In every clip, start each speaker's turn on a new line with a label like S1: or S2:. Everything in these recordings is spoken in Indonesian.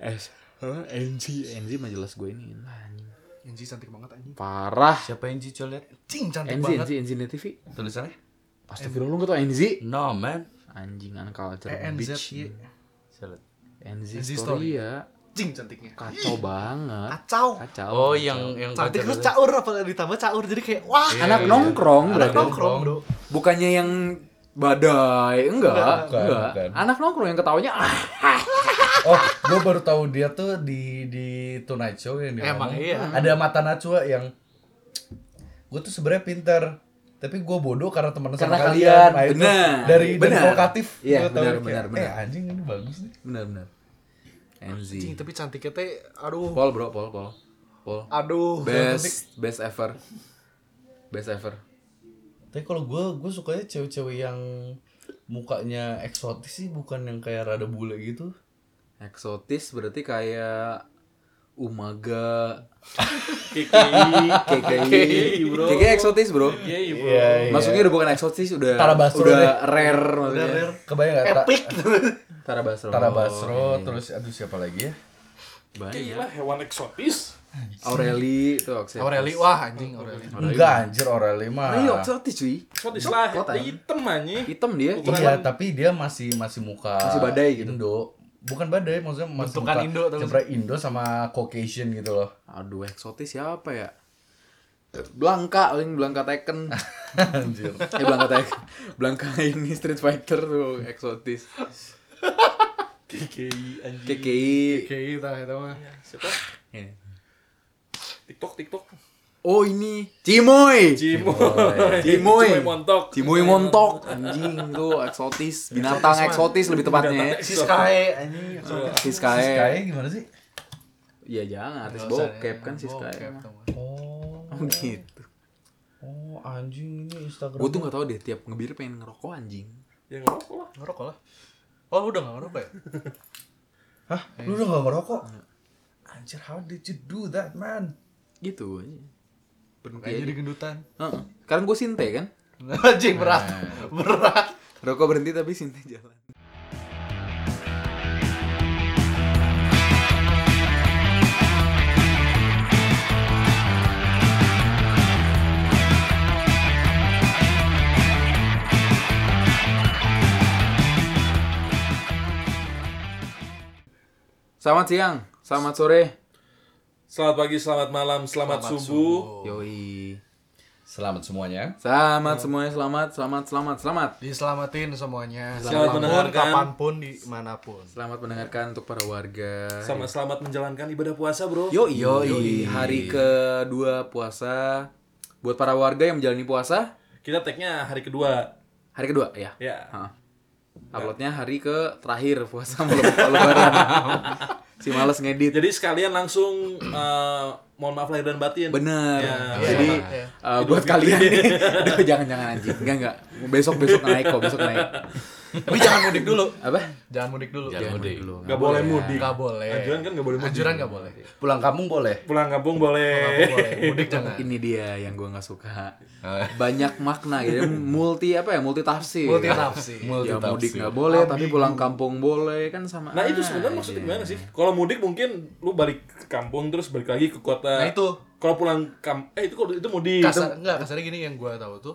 S1: S huh? NG
S2: NZ mah jelas gue ini anjing.
S3: NG cantik banget anjing.
S2: parah
S1: siapa yang Cico liat
S3: Cing cantik
S2: NZ
S3: banget.
S2: NZ NZ TV
S1: tulisannya
S2: Astagfirullah enggak tau Eh, NZ
S1: no man
S2: anjing uncultured
S3: ENZ.
S2: bitch
S3: iya.
S1: Saya liat.
S2: NZ
S3: NZ
S2: story
S3: story.
S2: ya
S3: Cing cantiknya.
S2: kacau banget
S3: Kacau.
S2: kacau
S1: oh
S2: kacau.
S1: yang yang
S3: Cantik
S1: kacau-
S3: terus caur apalagi ditambah caur jadi kayak wah.
S1: Iya,
S2: anak
S1: iya.
S2: nongkrong
S1: Anak
S2: berarti
S3: Nongkrong, Bro.
S2: bukannya yang badai enggak
S4: Bukan,
S2: enggak
S4: bukan.
S2: anak nongkrong yang ketawanya ah
S4: Oh, gue baru tahu dia tuh di di Tonight Show yang dia
S3: Emang
S4: ngomong.
S3: iya.
S4: Ada mata Najwa yang gue tuh sebenarnya pintar, tapi gue bodoh karena teman sama
S2: Karena
S4: kalian.
S2: kalian,
S4: Nah, itu
S2: benar,
S4: Dari dari
S2: benar.
S4: provokatif.
S2: Iya,
S4: Gua tahu
S2: benar,
S4: kayak,
S2: benar, benar.
S4: Eh, anjing ini bagus nih.
S2: benar benar
S3: Cing
S2: NZ
S3: tapi cantiknya teh aduh.
S2: Pol bro Pol Pol Pol
S3: Aduh.
S2: best best ever best ever
S4: Tapi kalau gue gue sukanya cewek-cewek yang mukanya eksotis sih, bukan yang kayak rada bule gitu.
S2: eksotis berarti kayak Umaga KKI KKI bro KKI eksotis bro
S4: Iya,
S2: Maksudnya udah bukan eksotis, udah
S4: Tara Basro
S2: udah
S4: deh.
S2: rare maksudnya.
S4: Kebayang nggak? Ta-
S3: Epic.
S2: Tara Basro.
S4: Tara Basro,
S1: Iya.
S4: terus aduh siapa lagi ya?
S2: Banyak.
S5: hewan eksotis.
S2: Aureli tuh eksotis.
S3: Aureli wah anjing Aureli.
S4: Enggak anjir Aureli mah.
S2: Aureli eksotis cuy.
S5: Eksotis lah,
S2: Kotak.
S5: hitam anjing.
S2: Hitam dia.
S5: Ukuran-
S4: Iya, tapi dia masih masih muka
S2: Masih badai gitu.
S4: Indo. Bukan badai, maksudnya masih
S3: Bentukan
S4: muka
S3: Indo atau-
S4: sebenarnya Indo sama Caucasian gitu loh.
S2: Aduh, eksotis siapa ya? Blanka, paling Blanka Tekken.
S4: Anjir.
S2: eh Blanka Tekken. Blanka ini Street Fighter tuh eksotis.
S5: KKI anjing.
S2: KKI.
S3: Kayak itu itu Iya, mah.
S5: Siapa? TikTok TikTok.
S2: Oh ini Cimoy.
S5: Cimoy.
S2: Cimoy.
S5: montok.
S2: Cimoy montok anjing tuh eksotis, binatang eksotis lebih tepatnya. ya.
S5: Binatang
S3: Si Sky anjing.
S2: Siskae.
S4: Kayak gimana sih?
S2: Iya jangan, artis
S3: Nggak usah,
S2: bokep kan sih
S3: bokep,
S2: sekarang.
S3: tau gak?
S4: Oh.
S2: Oh gitu.
S4: Oh, anjing ini Instagram.
S2: Gue tuh gak tau deh, tiap ngebir pengen ngerokok anjing.
S5: Ya ngerokok lah.
S3: Ngerokok lah. Oh lu udah gak ngerokok ya?
S4: Hah? Lu udah gak ngerokok? Anjir, how did you do that, man?
S2: Gitu aja. Berhenti
S3: Kayak
S2: aja.
S3: jadi gendutan.
S2: Heeh. Karena gue sinte kan.
S3: Anjing berat. Berat.
S2: Rokok berhenti tapi sinte jalan. Selamat siang, selamat sore.
S5: Selamat pagi, selamat malam, selamat, subuh.
S2: Yoi.
S4: Selamat semuanya.
S2: Selamat semuanya, selamat, selamat, selamat, selamat.
S3: Diselamatin semuanya.
S5: Selamat
S3: Selamat
S5: mendengarkan.
S3: Kapanpun dimanapun.
S2: Selamat mendengarkan untuk para warga.
S5: Sama selamat menjalankan ibadah puasa, Bro.
S2: Yoi. Hari kedua puasa. Buat para warga yang menjalani puasa,
S5: Kita tag-nya hari kedua.
S2: hari kedua ya.
S5: Ya.
S2: Heeh. Uploadnya hari ke terakhir puasa malam lebaran. si males ngedit.
S5: Jadi sekalian langsung eh, mohon maaf lahir dan batin.
S2: Bener.
S5: Ya.
S2: Jadi
S3: Iya.
S2: eh, buat kalian nih, aduh jangan-jangan anjing. Enggak enggak. Besok besok naik kok, besok naik.
S3: Tapi jangan mudik dulu.
S2: Apa?
S3: Jangan mudik dulu.
S2: Jangan dulu.
S5: Gak boleh mudik.
S3: Gak boleh.
S5: Anjuran kan nggak boleh mudik.
S3: Anjuran gak boleh.
S4: Pulang kampung boleh?
S5: Pulang kampung boleh.
S3: Nggak boleh. Mudik jangan.
S2: Ini dia yang gua nggak suka. Banyak makna gitu. Multi apa ya? Multi tafsir.
S3: Multi tafsir.
S2: Ya mudik nggak boleh, tapi pulang kampung boleh kan sama.
S5: Nah itu
S2: aja.
S5: sebenarnya maksudnya gimana sih? Kalau mudik mungkin lu balik ke kampung terus balik lagi ke kota.
S3: Nah, itu.
S5: Kalau pulang kamp, eh itu kalau itu
S2: Iya,
S5: mudik.
S3: Kasar enggak kasarnya gini yang gua tahu tuh.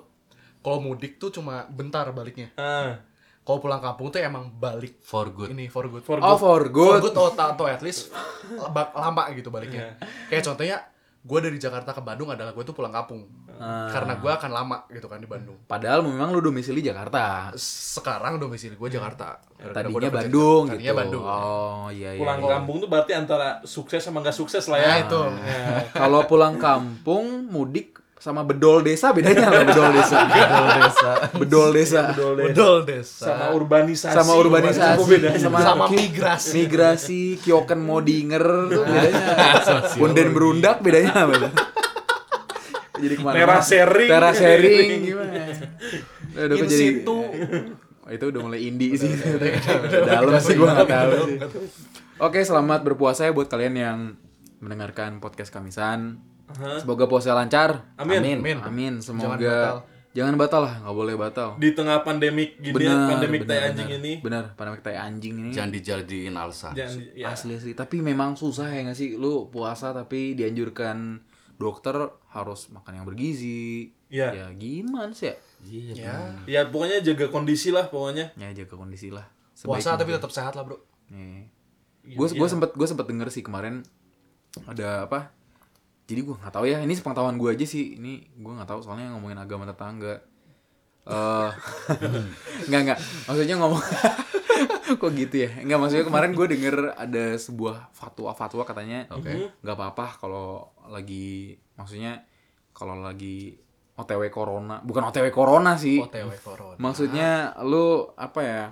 S3: Kalau mudik tuh cuma bentar baliknya.
S5: Ah,
S3: Kalau pulang kampung tuh emang balik.
S4: For good.
S3: Ini for good.
S5: for
S2: Oh for
S5: good.
S3: For
S2: good. Iya.
S3: good atau, atau at least laba- lama gitu baliknya. Kayak contohnya gue dari Jakarta ke Bandung adalah gue tuh pulang kampung
S2: Ah.
S3: karena gue akan lama gitu kan di Bandung.
S2: Padahal memang lu domisili Jakarta.
S3: Sekarang domisili gue Jakarta. Karena gua
S2: Tadinya
S3: udah kerja-
S2: Bandung gitu.
S3: Tadinya Bandung.
S2: Oh iya iya.
S5: Pulang kampung tuh berarti antara sukses sama nggak sukses lah ya.
S3: Nah, itu.
S5: Ya.
S2: Kalau pulang kampung mudik sama bedol desa bedanya apa bedol desa? bedol desa. Bedol desa.
S5: Bedol deh.
S3: Bedol desa.
S5: Sama urbanisasi. gitu.
S2: Sama
S5: Apa
S2: urbanisasi,
S5: bedanya?
S2: sama,
S3: Sama
S2: ki-
S3: migrasi.
S2: migrasi, kioken mau dinger tuh bedanya. Punden berundak bedanya apa? tuh? Jadi kemana?
S5: Terasering.
S2: Terasering gimana? Udah
S3: In
S2: kok jadi-
S3: situ.
S2: Oh, itu udah mulai indie sih. Dalam sih gua nggak tahu sih. Oke, selamat berpuasa ya buat kalian yang mendengarkan podcast Kamisan. Semoga puasa lancar.
S5: Amin.
S2: Amin.
S3: Amin.
S2: Amin.
S3: Jangan
S2: Semoga
S3: batal.
S2: Jangan batal lah, nggak boleh batal.
S5: di tengah pandemik gini
S2: Benar,
S5: pandemik
S2: benar,
S5: tai anjing
S2: benar.
S5: ini
S2: Benar, pandemik tai anjing ini.
S6: Jangan dijadiin alasan.
S5: jangan ya.
S2: Asli asli, tapi memang susah ya nggak sih lu puasa tapi dianjurkan dokter harus makan yang bergizi.
S5: Iya.
S2: Ya gimana sih ya?
S5: ya pokoknya jaga kondisi lah pokoknya
S2: Ya jaga kondisi lah.
S3: Puasa
S2: gitu.
S3: tapi tetap sehat lah, Bro.
S2: Nih. Gue sempet gue sempet denger sih kemarin ada apa? Jadi gue nggak tahu ya. Ini sepengetahuan gue aja sih. Ini gue nggak tahu soalnya ngomongin agama tetangga. Eh, nggak nggak. Maksudnya ngomong kok gitu ya? Nggak maksudnya kemarin gue denger ada sebuah fatwa-fatwa katanya nggak apa-apa kalau lagi maksudnya kalau lagi OTW corona, bukan OTW corona sih.
S3: OTW corona.
S2: Maksudnya lu apa ya?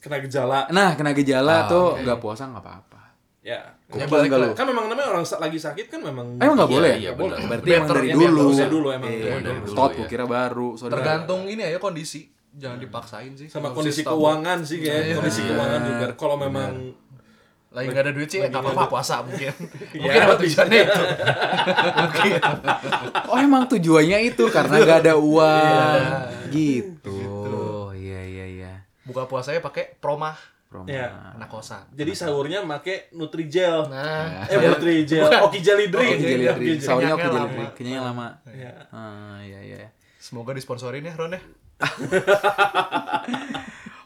S5: kena gejala
S2: Nah, kena gejala tuh nggak puasa nggak apa-apa.
S5: ya
S2: Gua
S3: Ya,
S2: bilang
S3: balik
S2: nggak
S3: lah.
S2: lu?
S5: kan memang namanya orang sa- lagi sakit kan memang
S2: Emang nggak
S6: Iya,
S2: boleh?
S6: iya,
S2: ya?
S6: benar.
S2: Berarti
S3: Better,
S2: emang dari
S5: ya,
S2: dulu.
S5: biar terus ya dulu emang.
S2: Iya,
S5: Dari
S6: dulu,
S2: Stot,
S6: ya.
S2: gua kira baru. Saudara.
S3: Tergantung ini ya kondisi. Jangan
S2: Hmm.
S3: dipaksain sih.
S5: sama
S3: Nggak
S5: kondisi
S3: usah stabil.
S5: keuangan sih kayak kondisi keuangan juga kalau memang
S3: Lagi nggak ada duit sih, nggak apa-apa puasa mungkin. mungkin
S5: Iya.
S3: apa tujuannya itu. mungkin.
S2: Oh emang tujuannya itu karena nggak ada uang. gitu. Iya iya iya.
S3: Buka puasanya pakai promah
S2: Promo.
S5: ya
S3: anak kosan.
S5: jadi sahurnya make nutrijel
S3: Nah,
S5: eh nutrijel oki jelly drink
S2: Oke jadi
S5: Oki
S2: drink.
S5: jelly.
S2: Sahurnya oke
S3: Kenyangnya
S2: jadi
S3: lama.
S2: drink. Kenyangnya lama.
S5: Iya.
S2: Ah, iya iya.
S3: semoga disponsorin ya Ron ya.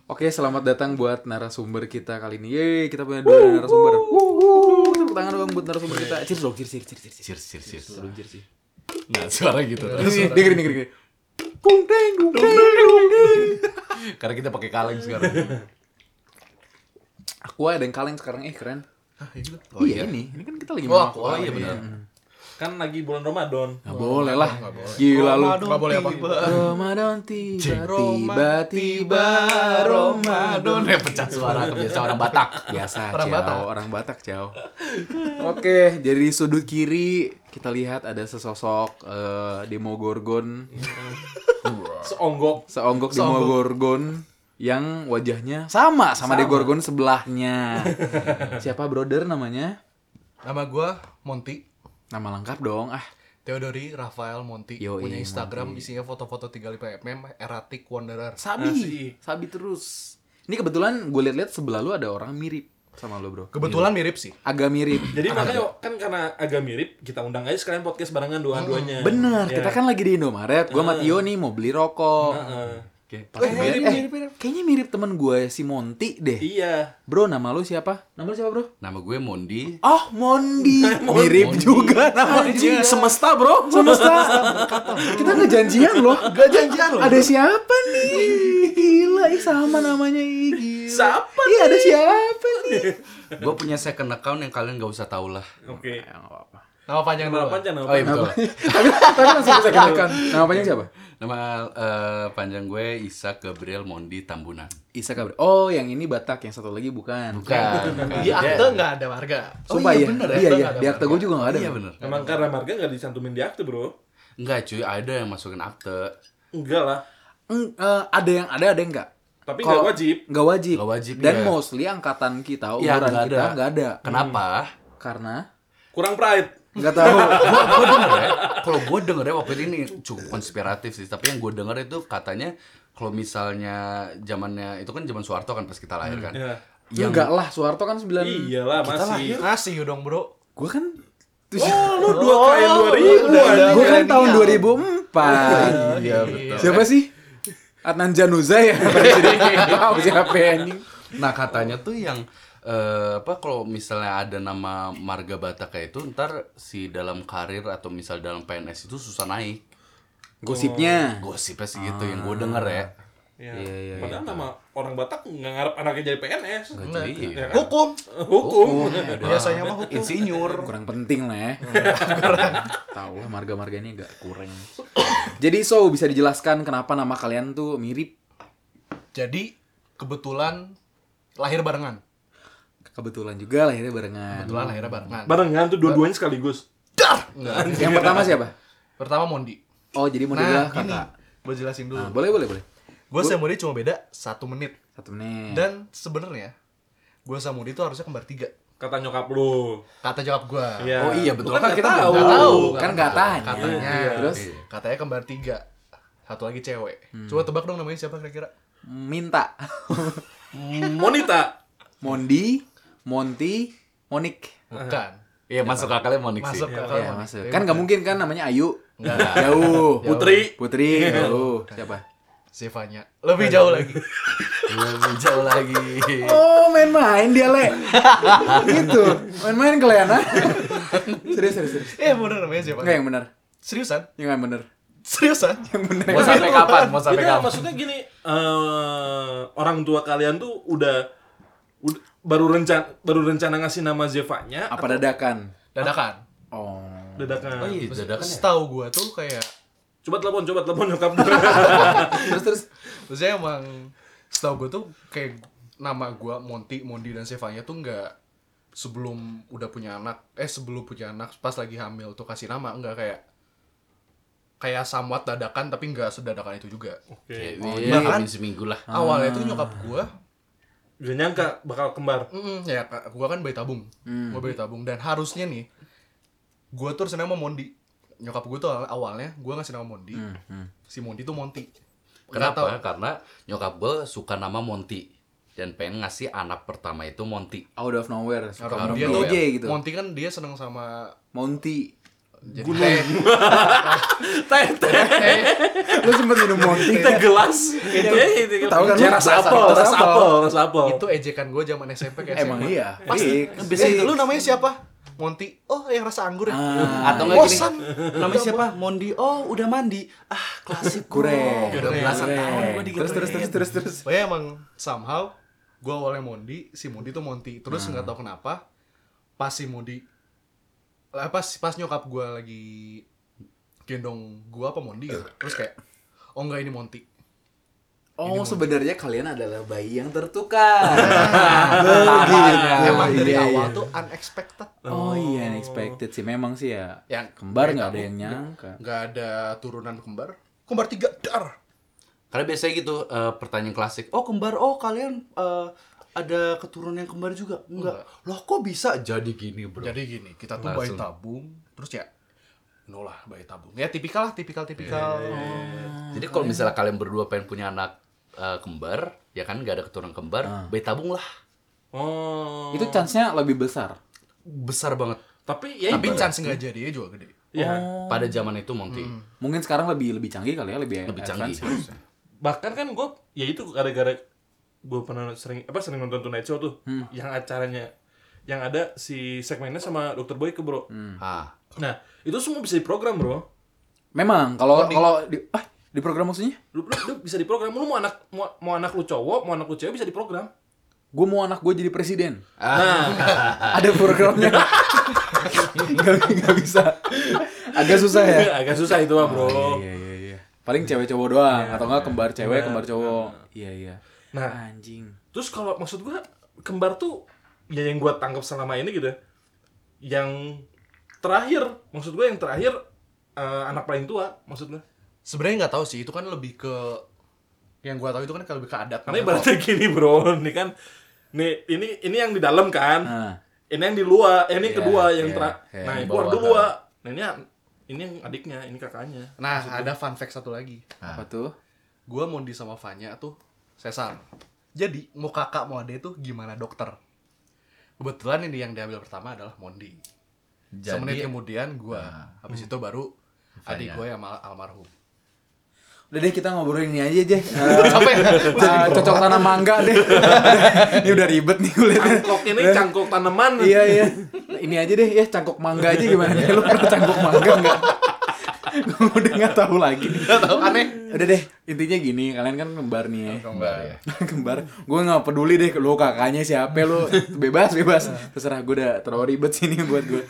S2: Oke, selamat datang buat narasumber kita kali ini. Yeay, kita punya dua narasumber. Wuhu, Tepuk tangan dong buat narasumber kita. Cheers dong, cheers, cheers, cheers, cheers.
S6: Cheers, cheers, cheers.
S2: Dulu cheers sih.
S6: Nah, suara gitu.
S3: Iya.
S2: Dengerin, dengerin, dengerin. Dung, deng, dung, deng, dung, deng.
S6: Karena kita pakai kaleng sekarang.
S2: Aku ada yang kaleng sekarang, eh keren.
S3: Hah, ya gitu.
S2: Oh iya ini, ini kan kita lagi
S3: Oh,
S2: minum
S3: aku oh, iya benar.
S5: kan lagi bulan Ramadan
S2: Nggak boleh lah. Gila lu.
S3: Enggak boleh apa.
S2: Ramadan tiba tiba tiba Ramadan.
S6: Eh, pecah suara kebiasaan orang Batak.
S2: Biasa
S3: Orang
S2: Ciao,
S3: Batak.
S2: orang Batak Ciao. Oke, dari sudut kiri kita lihat ada sesosok eh, Demogorgon,
S5: seonggok
S2: seonggok Demogorgon yang wajahnya sama sama, Demogorgon sebelahnya. Siapa brother namanya?
S3: Nama gua Monty.
S2: Nama lengkap dong. Ah,
S3: Theodori Rafael Monti
S2: Yoi,
S3: punya Instagram isinya foto-foto 35 mm erratic wanderer.
S2: Ah, Sabi,
S5: Asli.
S2: Sabi terus. Ini kebetulan gue liat-liat sebelah lu ada orang mirip sama lu bro.
S3: Kebetulan mirip sih.
S2: Agak mirip.
S5: jadi makanya kan karena agak mirip kita undang aja sekalian podcast barengan dua-duanya
S2: Bener,
S5: Ya.
S2: kita kan lagi di Indomaret. Gue sama Tio nih mau beli rokok.
S5: Heeh.
S2: Pas gua liat, Ah. eh, Kayaknya mirip temen gue si Monty deh.
S5: iya
S2: Bro, nama lu siapa? Nama lu siapa bro?
S6: Nama gue Mondi.
S2: Oh, Mondi. mirip juga namanya. Semesta bro. Semesta. kita nggak janjian loh. Gak janjian loh. Ada siapa nih? Gila, ih sama namanya. Ih, gila.
S5: Siapa
S2: Ih, ada siapa nih?
S6: Gue punya second account yang kalian gak usah tau lah.
S5: oke
S2: Ya, nggak apa-apa.
S3: Nama panjang
S5: Nama
S3: dulu. Bang.
S5: panjang, nama
S6: Oh iya
S5: panjang.
S6: betul.
S2: tapi tapi langsung saya kenalkan nama panjang siapa
S6: Nama eh, panjang gue Isak Gabriel Mondi Tambunan.
S2: Isa Gabriel oh yang ini Batak yang satu lagi bukan
S6: Bukan.
S4: Iya.
S3: Di Iya, akte nggak ada warga.
S2: Sumpah Iya,
S4: Oh,
S2: ya iya iya di akte gue
S3: juga.
S2: juga nggak ada
S6: Iya bener.
S5: Emang karena marga nggak dicantumin di akte bro?
S6: Enggak cuy, ada yang masukin akte.
S5: Enggak lah.
S2: Eng, eh, ada yang ada ada yang nggak
S5: Tapi
S2: Kalau-
S5: nggak wajib.
S2: nggak wajib
S6: Nggak wajib,
S2: dan
S6: iya.
S2: mostly angkatan kita
S6: Iya,
S2: umuran
S6: nggak
S2: kita
S6: ada.
S2: nggak ada
S6: Kenapa?
S2: karena
S5: Kurang pride.
S2: nggak tahu
S6: Gua gue denger ya, kalau gue denger ya waktu itu ini cukup konspiratif sih. Tapi yang gue denger itu katanya kalau misalnya zamannya itu kan zaman Soeharto kan pas kita lahir kan.
S5: Iya.
S2: ya enggak lah Soeharto kan sembilan
S5: Iyalah masih.
S3: Ngasih dong bro.
S2: gue kan
S5: Oh, lu dua kain dua ribu anjing.
S2: gue kan
S3: milenial.
S2: tahun 2004
S3: Iya betul.
S2: siapa sih Adnan Januza ya tahu siapa ya anjing
S6: Nah katanya tuh yang eh, apa kalau misalnya ada nama marga Batak kayak itu ntar si dalam karir atau misal dalam PNS itu susah naik.
S2: gosipnya
S4: Oh, iya.
S6: Gosipnya sih gitu yang gue denger ya.
S5: Iya. Padahal nama orang Batak nggak ngarep anaknya jadi PNS.
S6: Jadi
S3: iya.
S4: Iya.
S5: Ya kan?
S3: Hukum.
S5: Hukum.
S3: iya. Biasanya mah hukum.
S6: insinyur.
S2: kurang penting lah ya tahu lah marga-marga ini agak kurang jadi so bisa dijelaskan kenapa nama kalian tuh mirip
S3: Jadi kebetulan lahir barengan.
S2: kebetulan juga lahirnya barengan
S3: Kebetulan lahirnya barengan.
S5: Barengan tuh dua-duanya sekaligus.
S2: yang pertama siapa
S3: Pertama Mondi.
S2: oh jadi mau dibilang
S3: Nah
S2: kakak
S3: gini, gue jelasin
S2: Nah,
S3: dulu.
S2: boleh boleh boleh
S3: Gue sama Mondi cuma beda satu menit.
S2: satu menit
S3: Dan sebenarnya gue sama Mondi itu harusnya kembar tiga.
S5: Kata nyokap lu.
S3: Kata jawab gue.
S5: Iya.
S6: Oh iya
S5: Lu
S6: betul
S5: kan
S6: kan kita
S5: nggak
S6: belum
S5: tahu.
S2: kan katanya
S3: Katanya.
S2: terus
S3: Katanya kembar tiga. Satu lagi cewek. Coba tebak dong namanya siapa kira-kira?
S2: Minta.
S5: Hmm, Monita.
S2: Mondi, Monty, Monik.
S3: Bukan.
S6: Iya masuk akalnya Monik sih.
S3: Masuk ke akal.
S2: Ya,
S3: Monik.
S2: masuk.
S3: Tapi
S2: Kan nggak
S3: bukan.
S2: mungkin kan namanya Ayu.
S3: Nggak.
S2: Jauh.
S5: Putri.
S2: Putri. Jauh. Siapa?
S3: Zevanya. Lebih jauh lagi.
S6: Lebih jauh Iya, lagi.
S2: Oh, main-main dia, Le. gitu. Main-main kalian, ah. serius, serius, serius.
S3: Eh, bener namanya
S2: Enggak
S3: Zevanya.
S2: yang benar.
S3: Seriusan?
S2: Yang nggak benar.
S3: Seriusan?
S2: Yang benar.
S6: Mau sampai kapan? Mau sampai
S5: Enggak,
S6: kapan?
S5: maksudnya gini, eh orang tua kalian tuh udah, ud- baru rencana baru rencana ngasih nama Zevanya
S2: Apa dadakan?
S3: Dadakan.
S2: Oh.
S5: dadakan.
S6: Oh iya dadakan ya.
S3: Setahu gua tuh kayak
S5: Coba telepon, coba telepon nyokap gue.
S2: Terus terus
S3: Maksudnya emang setahu gue tuh kayak nama gue Monty, Mondi dan Sevanya tuh nggak sebelum udah punya anak, eh sebelum punya anak pas lagi hamil tuh kasih nama nggak kayak kayak samwat dadakan tapi nggak sedadakan itu juga.
S6: Iya,
S5: Oke.
S6: iya,
S3: bahkan-
S6: Min seminggu lah.
S3: Awalnya tuh nyokap gue,
S5: Gak nyangka bakal kembar.
S3: mm, ya gue kan bayi tabung,
S2: Hmm.
S3: gue bayi tabung dan harusnya nih gue tuh senang sama Mondi. Nyokap gue tuh awalnya gue ngasih nama Mondi,
S2: Hmm,
S3: si Mondi tuh Monty. Nggak tahu.
S6: Kenapa? Karena nyokap gue suka nama Monty dan pengen ngasih anak pertama itu Monty.
S2: out of nowhere.
S3: Nyokap
S2: Suka dia
S3: dia tuh
S2: aja gitu.
S3: Monty kan dia seneng sama
S2: Monty.
S3: jadi teh.
S5: Teh, teh,
S2: Lu sempet minum Monty.
S5: teh gelas. Itu itu
S2: Tahu kan lu?
S5: Ras apel, ras apel, ras apel.
S3: itu ejekan gue zaman SMP kayak
S2: Emang
S3: SMA.
S2: iya.
S3: Pasti.
S2: Fix.
S3: Eh, lu namanya siapa? Monty. Oh, yang rasa anggur ya.
S2: Ah,
S6: Atau nggak gini,
S3: Bosan.
S6: namanya siapa? Mondi. Oh, udah mandi. Ah, klasik bro.
S2: Kurang.
S6: Udah belasan
S2: Kurang.
S6: tahun gue
S2: Terus terus terus terus terus.
S3: Pokoknya emang somehow gue awalnya Mondi, si Mondi tuh Monty. Terus
S2: Hmm.
S3: nggak tahu kenapa pas si Mondi lah, pas pas nyokap gue lagi gendong gue apa Mondi gitu. Terus kayak oh enggak ini Monty.
S2: Oh, sebenarnya kalian adalah bayi yang tertukar.
S3: emang dari
S2: iya,
S3: awal
S2: iya.
S3: tuh unexpected.
S2: Oh iya, unexpected sih. Memang sih ya.
S3: Yang
S2: Kembar
S3: kayak
S2: nggak ada
S3: kamu,
S2: yang gitu. nyangka.
S3: Nggak ada turunan kembar. Kembar tiga dar.
S6: Karena biasanya gitu eh, pertanyaan klasik. Oh kembar, oh kalian eh, ada keturunan yang kembar juga? Enggak. Loh kok bisa jadi gini bro?
S3: Jadi gini, kita tuh bayi
S6: Langsung.
S3: tabung, terus ya no lah bayi tabung. Ya tipikal lah, tipikal-tipikal.
S2: Iya,
S6: Jadi kalau misalnya Hmm, kalian berdua pengen punya anak eh, kembar, ya kan nggak ada keturunan kembar, bayi tabung lah.
S5: Oh.
S2: Itu chance-nya lebih besar.
S6: Besar banget.
S5: Tapi ya
S3: Tapi
S2: Iya,
S5: itu.
S3: chance nggak jadi juga gede.
S5: Ya.
S6: Pada zaman itu Monty.
S2: Mungkin sekarang lebih lebih canggih kali ya, lebih
S6: Lebih canggih.
S5: Bahkan kan gue, ya itu gara-gara gue pernah sering apa sering nonton Tonight Show tuh,
S2: Hmm.
S5: yang acaranya yang ada si segmennya sama Dokter Boy ke bro.
S2: Hmm.
S6: Ah.
S5: Nah itu semua bisa diprogram bro.
S2: Memang kalau kalau di ah, di program maksudnya?
S5: Lu, lu, lu bisa diprogram. Lu mau anak mau, mau anak lu cowok, mau anak lu cewek bisa diprogram.
S2: Gue mau anak gue jadi presiden.
S5: Nah,
S2: Ah. ada programnya nggak nggak bisa agak susah ya
S5: agak susah itu mah bro.
S2: iya iya iya paling cewek cowok doang atau nggak kembar cewek kembar cowok iya iya
S5: Nah
S2: anjing
S5: terus kalau maksud gue kembar tuh ya yang gue tangkap selama ini gitu, ya, yang terakhir maksud gue yang terakhir eh, anak paling tua maksud gue.
S3: Sebenarnya nggak tahu sih, itu kan lebih ke yang gua tahu itu kan lebih ke adat.
S5: Karena ibaratnya gini bro, ini kan, nih ini ini yang di dalam kan,
S2: Ah.
S5: ini yang di luar, eh, ini
S2: Iya,
S5: kedua yang
S2: iya,
S5: terakhir.
S2: iya.
S5: Nah,
S2: Yang
S5: yang keluar
S6: bawah
S5: dua, nah ini ini yang adiknya, ini kakaknya.
S3: Nah, ada fun fact satu lagi.
S2: apa tuh
S3: Gua Mondi sama Fanya tuh sesar. Jadi mau kakak mau adik tuh gimana dokter? Kebetulan ini yang diambil pertama adalah Mondi. Semenit
S6: Jadi
S3: kemudian gua, habis itu baru adik gue yang mal- almarhum.
S2: udah deh kita ngobrolin ini aja deh Eh, cocok tanam mangga deh ini udah ribet nih kulitnya
S5: Cangkok ini cangkok tanaman.
S2: iya iya ini aja deh ya cangkok mangga aja gimana deh lu pernah cangkok mangga nggak gue udah nggak tahu lagi
S3: Aneh.
S2: udah deh intinya gini kalian kan kembar nih ya
S6: kembar ya.
S2: kembar gue nggak peduli deh lo kakaknya siapa lo bebas bebas terserah gue udah terlalu ribet sini buat gue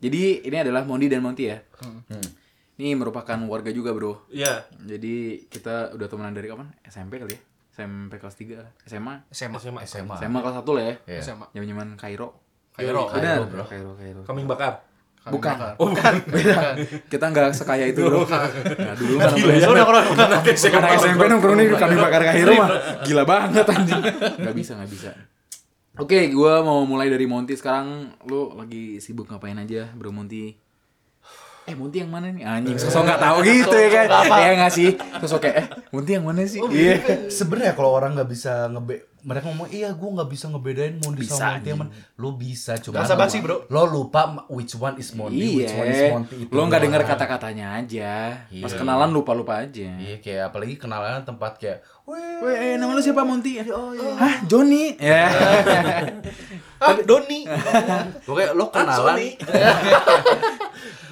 S2: jadi ini adalah Mondi dan Monty ya ini merupakan warga juga bro
S5: Iya.
S2: jadi kita udah temenan dari kapan SMP kali ya SMP kelas 3 lah. SMA
S3: SMA.
S5: SMA.
S6: SMA.
S2: SMA kelas 1 lah ya
S6: Iya.
S3: SMA.
S2: zaman zaman Kairo
S3: Kairo.
S2: benar Kairo Kairo
S5: Iya, Kambing bakar.
S3: Kami
S2: bukan
S3: bakar.
S5: Oh, bukan.
S2: beda kita nggak sekaya itu bro nah, dulu kan
S5: Gila ya. Udah, udah, udah.
S2: Karena SMP nongkrong nih kami bakar Kairo mah gila banget anjing. Gak bisa gak bisa. Oke, gua mau mulai dari Monty sekarang. Lu lagi sibuk ngapain aja, Bro Monty? eh Monty yang mana nih anjing sosok nggak tahu gitu ya kan ya nggak sih sosok kayak eh Monty yang mana sih iya
S4: Sebenarnya kalau orang nggak bisa ngebe mereka ngomong iya gue nggak bisa ngebedain Mondi sama Monty yang mana." Lo bisa cuma
S3: Bahasa basi, bro.
S4: Lo lupa ma- which one is Mondi, which one is
S2: iya
S4: Monty itu.
S2: lo nggak dengar
S4: doang.
S2: kata-katanya aja pas kenalan lupa lupa aja
S4: Iya kayak apalagi kenalan tempat kayak weh
S2: Weh, eh, nama lu siapa Monty? Oh, iya. Hah, Joni? Ya.
S3: Ah, Doni.
S6: Pokoknya lo
S4: Kan
S6: kenalan.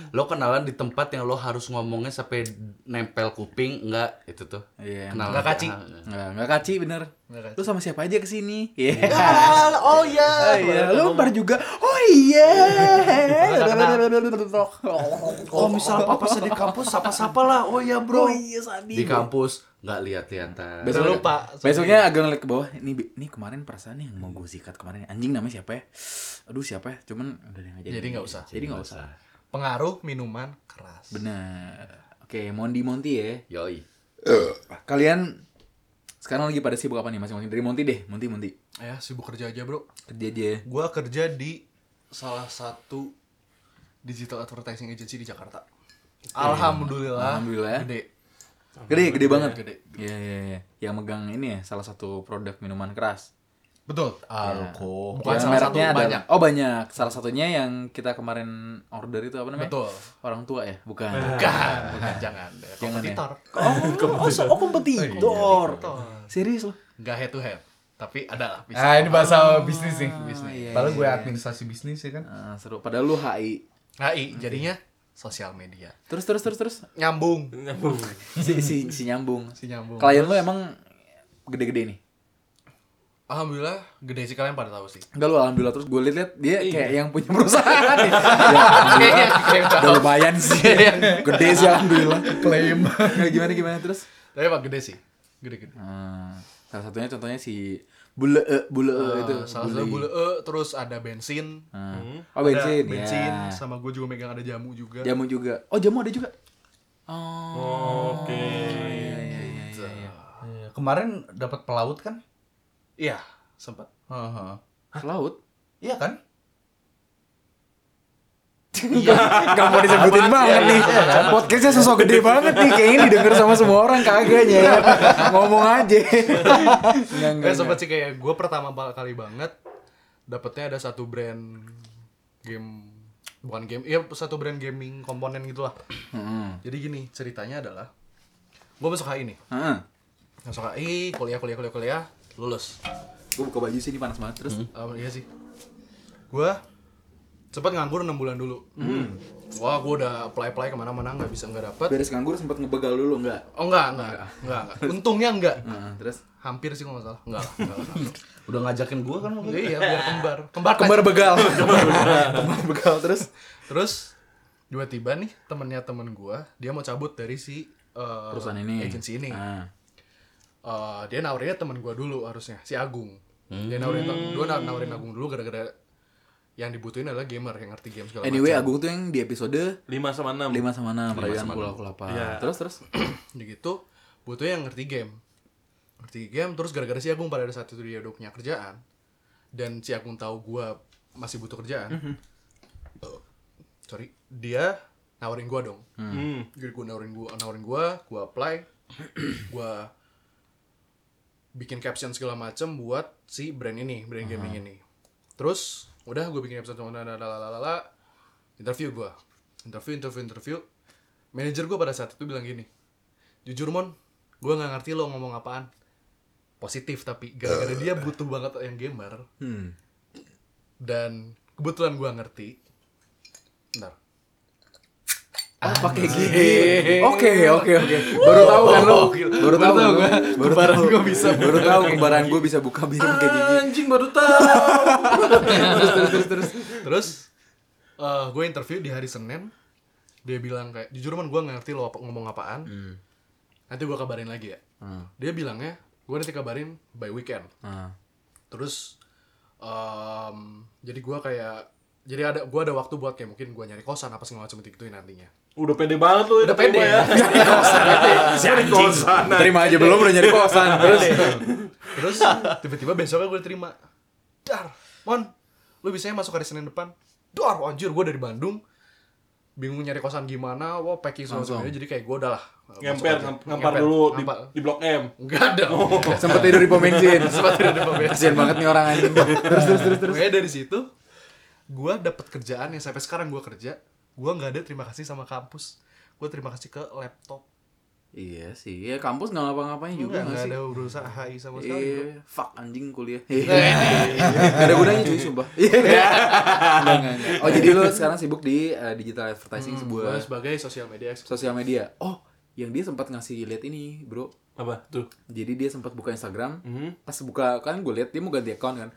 S6: lo kenalan di tempat yang lo harus ngomongnya sampai nempel kuping enggak itu tuh.
S2: Iya.
S6: Kenalan.
S3: Nggak kaci.
S2: Nggak, nggak kaci bener.
S3: Nggak kaci.
S2: Lu sama siapa aja kesini? Iya.
S3: oh iya.
S2: Oh, iya. Lu bar juga. Oh iya.
S6: Oh, misal papa di kampus sapa-sapa lah. Oh iya, Bro.
S4: "Ah,
S6: Di kampus nggak lihat-lihatan.
S2: Besok
S3: lupa.
S2: Besoknya agak ngeliat ke bawah. Ini bi- ini kemarin perasaan yang mau gue sikat kemarin. Anjing namanya siapa ya? Aduh siapa ya? Cuman udah deh aja.
S3: Jadi nggak usah.
S2: Jadi nggak usah.
S3: Pengaruh minuman keras.
S2: Bener. Oke, Mondi Monti ya.
S6: Yoi.
S2: Kalian sekarang lagi pada sibuk apa nih masing-masing? Dari Monti deh, Monti Monti.
S3: Ya, sibuk kerja aja, Bro.
S2: Kerja aja.
S3: Gua kerja di salah satu digital advertising agency di Jakarta. Alhamdulillah.
S2: Alhamdulillah.
S3: Gede.
S2: Gede, gede banget.
S3: Gede.
S2: Iya, iya, iya. Yang megang ini ya, salah satu produk minuman keras.
S3: Betul.
S4: Alko.
S3: Bukan
S2: Yang
S3: salah satu,
S2: Iya, mereknya ada-
S3: banyak.
S2: Oh, banyak. Salah satunya yang kita kemarin order itu apa namanya?
S3: Betul.
S2: Orang tua ya? Bukan.
S3: Bukan, bukan jangan.
S2: Jangan ya.
S3: Kompetitor. iya,
S2: Oh, oh, so- oh, kompetitor. Serius loh.
S3: Nggak head to head, tapi ada lah bisa.
S4: Ah ini bahasa bisnis nih.
S2: iya,
S4: Padahal gue administrasi bisnis ya kan.
S2: Ah, seru. Padahal lu HI.
S3: HI Nah, jadinya sosial media.
S2: Terus, terus, terus, terus.
S3: Nyambung.
S5: Nyambung.
S2: Si, si, si nyambung.
S3: Si nyambung.
S2: Klien lu emang gede-gede nih?
S3: Alhamdulillah gede sih kalian pada tahu sih.
S2: Enggak lu alhamdulillah terus gue liat-liat dia
S3: Iya.
S2: kayak yang punya perusahaan nih. ya, alhamdulillah. Udah lumayan sih. Gede sih alhamdulillah.
S4: Klaim.
S2: Nah, gimana gimana terus?
S3: Tapi emang gede sih. Gede-gede.
S2: Hmm, salah satunya contohnya si bule eh, bule eh, itu.
S3: Eh, salah satu bule eh, terus ada bensin.
S2: Hmm. Oh bensin,
S3: Ada bensin
S2: ya.
S3: sama gue juga megang ada jamu juga.
S2: Jamu juga. Oh jamu ada juga. Oh.
S5: Oke.
S6: Iya,
S4: Kemarin dapat pelaut kan?
S3: Iya, sempat.
S4: Heeh.
S2: Oh, Laut.
S4: Iya kan?
S2: Gak mau disebutin banget nih.
S3: Iya,
S2: Podcastnya sosok gede banget nih. Kayaknya didengar sama semua orang kagaknya ya. Ngomong aja. Enggak,
S3: Enggak sempat sih kayak gue pertama ba- kali banget dapetnya ada satu brand game bukan game iya satu brand gaming komponen gitu lah
S2: Hmm.
S3: jadi gini ceritanya adalah gue masuk HI nih
S2: Heeh.
S3: masuk HI kuliah kuliah kuliah kuliah lulus
S2: Gue buka baju sini panas banget terus.
S3: Um, iya sih. Gua sempat nganggur 6 bulan dulu.
S4: Hmm.
S3: Wah, gua udah apply-apply kemana-mana nggak bisa nggak dapet.
S2: Beres nganggur sempat ngebegal dulu enggak?
S3: Oh enggak, enggak, enggak, enggak. Untungnya enggak.
S2: Heeh, terus
S3: Hampir sih kalau nggak salah. Enggak, lah, enggak. lah, enggak.
S4: Udah ngajakin gue kan waktu itu.
S3: iya, biar kembar. Kembar,
S2: kembar
S3: kan?
S2: begal. kembar begal terus.
S3: Terus tiba-tiba nih temennya temen gua, dia mau cabut dari si uh,
S2: Perusahaan ini.
S3: agency ini.
S2: Ah.
S3: Eh, dia nawarinnya temen gua dulu harusnya, si Agung.
S2: Hmm.
S3: Dia nawarin, gua na- nawarin Agung dulu gara-gara yang dibutuhin adalah gamer yang ngerti game segala
S2: Anyway,
S3: macam.
S2: Agung tuh yang di episode
S5: 5 sama 6.
S2: 5 sama 6 perayaan Pulau Kelapa.
S5: Iya.
S2: Terus terus.
S3: Udah gitu butuh yang ngerti game ngerti game terus gara-gara si Agung pada saat itu dia udah punya kerjaan dan si Agung tahu gua masih butuh kerjaan Eh, sorry dia nawarin gua dong
S5: Hmm.
S3: jadi gua nawarin gua nawarin gua gua apply gua bikin caption segala macem buat si brand ini brand gaming ini terus udah gue bikin caption sama lalala interview gua interview interview interview manajer gua pada saat itu bilang gini jujur mon gua nggak ngerti lo ngomong apaan positif tapi gara-gara dia butuh banget yang gamer
S2: Hmm.
S3: dan kebetulan gua ngerti bentar
S2: Ah, Iya. pakai gigi. Oke, oke, oke. Baru tahu kan lo? Baru tahu kan lo? Baru tahu gue bisa. Ah, Baru tahu kembaran gue bisa buka bir pakai gigi.
S5: Anjing baru tahu.
S2: Terus terus terus terus.
S3: Terus eh gue interview di hari Senin, dia bilang kayak jujur man gue nggak ngerti lo apa- ngomong apaan.
S2: Hmm.
S3: Nanti gue kabarin lagi ya. Dia bilangnya gue nanti kabarin by weekend.
S2: Ah.
S3: Terus em, jadi gue kayak jadi ada gue ada waktu buat kayak mungkin gue nyari kosan apa segala macam itu nantinya.
S5: Udah pede banget lu
S3: Udah pede ya.
S5: Jadi kosan.
S2: Terima aja belum udah nyari kosan. Terus
S3: Terus tiba-tiba besoknya gue terima. Dar, Mon, lu bisanya masuk hari Senin depan. Dar, anjir gue dari Bandung. bingung nyari kosan gimana, wah packing semua jadi kayak gue udah lah.
S5: Ngemper,
S3: Masuk aja.
S5: ngam- ngampar
S3: Ngemper,
S5: dulu di, Oh.
S3: ngampar.
S5: di Blok M.
S3: Enggak ada.
S2: Sempet tidur di pom bensin.
S3: Sempat tidur di pom bensin.
S2: Kasian banget nih orang anjing. Terus terus terus terus.
S3: Pokoknya dari situ gue dapet kerjaan yang sampai sekarang gue kerja, gue nggak ada terima kasih sama kampus. Gue terima kasih ke laptop.
S2: Iya sih, ya kampus nggak ngapa-ngapain juga nggak
S3: Enggak, Iya. enggak
S2: sih?
S3: ada urusan HI sama sekali. Iya. gua.
S2: Eh, fuck anjing kuliah. Gak ada gunanya cuy, sumpah. Iya.
S3: Iya.
S2: Enggak, enggak, enggak. Oh, jadi lu sekarang sibuk di eh, digital advertising
S3: Gua
S2: sebuah
S3: sebagai social media expert.
S2: sosial media. Oh, yang dia sempat ngasih lihat ini, Bro.
S5: Apa tuh?
S2: Jadi dia sempat buka Instagram.
S3: Hmm.
S2: Pas buka kan gue lihat dia mau ganti account kan.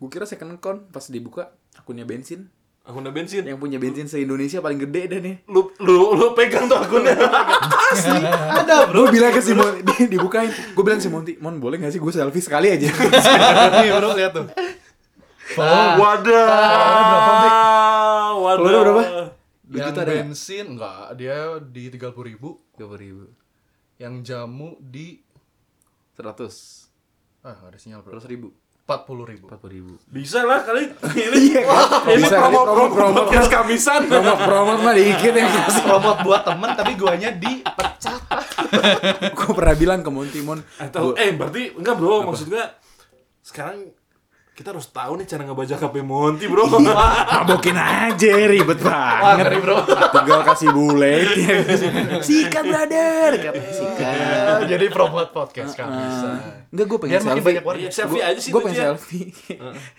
S2: Gue kira second account pas dibuka akunnya bensin.
S5: Aku udah bensin.
S2: Yang punya bensin se-Indonesia paling gede dah nih.
S5: Lu lu lu pegang tuh akunnya. Oh,
S2: Ada bro. Gue bilang ke si Mon, di- dibukain. Gue bilang si Monti, Mon boleh gak sih gue selfie sekali aja?
S3: Nih Iya, bro lihat tuh.
S5: Wadah.
S2: Ah,
S5: Wadah.
S2: Keluar berapa? Dua
S3: Yang
S2: juta ada ya? nggak?
S3: bensin enggak, dia di 30.000 ribu.
S2: 20.000.
S3: Yang jamu di
S2: 100.
S3: ah nggak ada sinyal bro.
S2: 100 ribu.
S3: 40.000 ribu.
S2: 40 ribu.
S5: Bisa lah kali ini. ini
S2: Iya, kan? Bisa, ini promo,
S5: promo promo
S2: promo.
S5: podcast kamisan.
S2: Promo, promo mah dikit yang kasih.
S3: Robot buat temen tapi guanya di
S2: Gue pernah bilang ke Monty, Mon.
S5: Atau
S2: gua-
S5: eh berarti enggak bro, maksud gue sekarang kita harus tahu nih cara ngebaca KP Monty bro.
S2: Mabokin aja, ribet banget. bro. Tinggal kasih bulet. sikat, brother. Katanya sikat.
S3: jadi robot podcast kan bisa.
S2: Enggak, gue Ah. pengen
S3: Biar makin
S2: selfie.
S3: banyak warna.
S5: Iya, selfie aja sih
S2: Gue
S5: lucu
S2: pengen
S5: ya.
S2: selfie.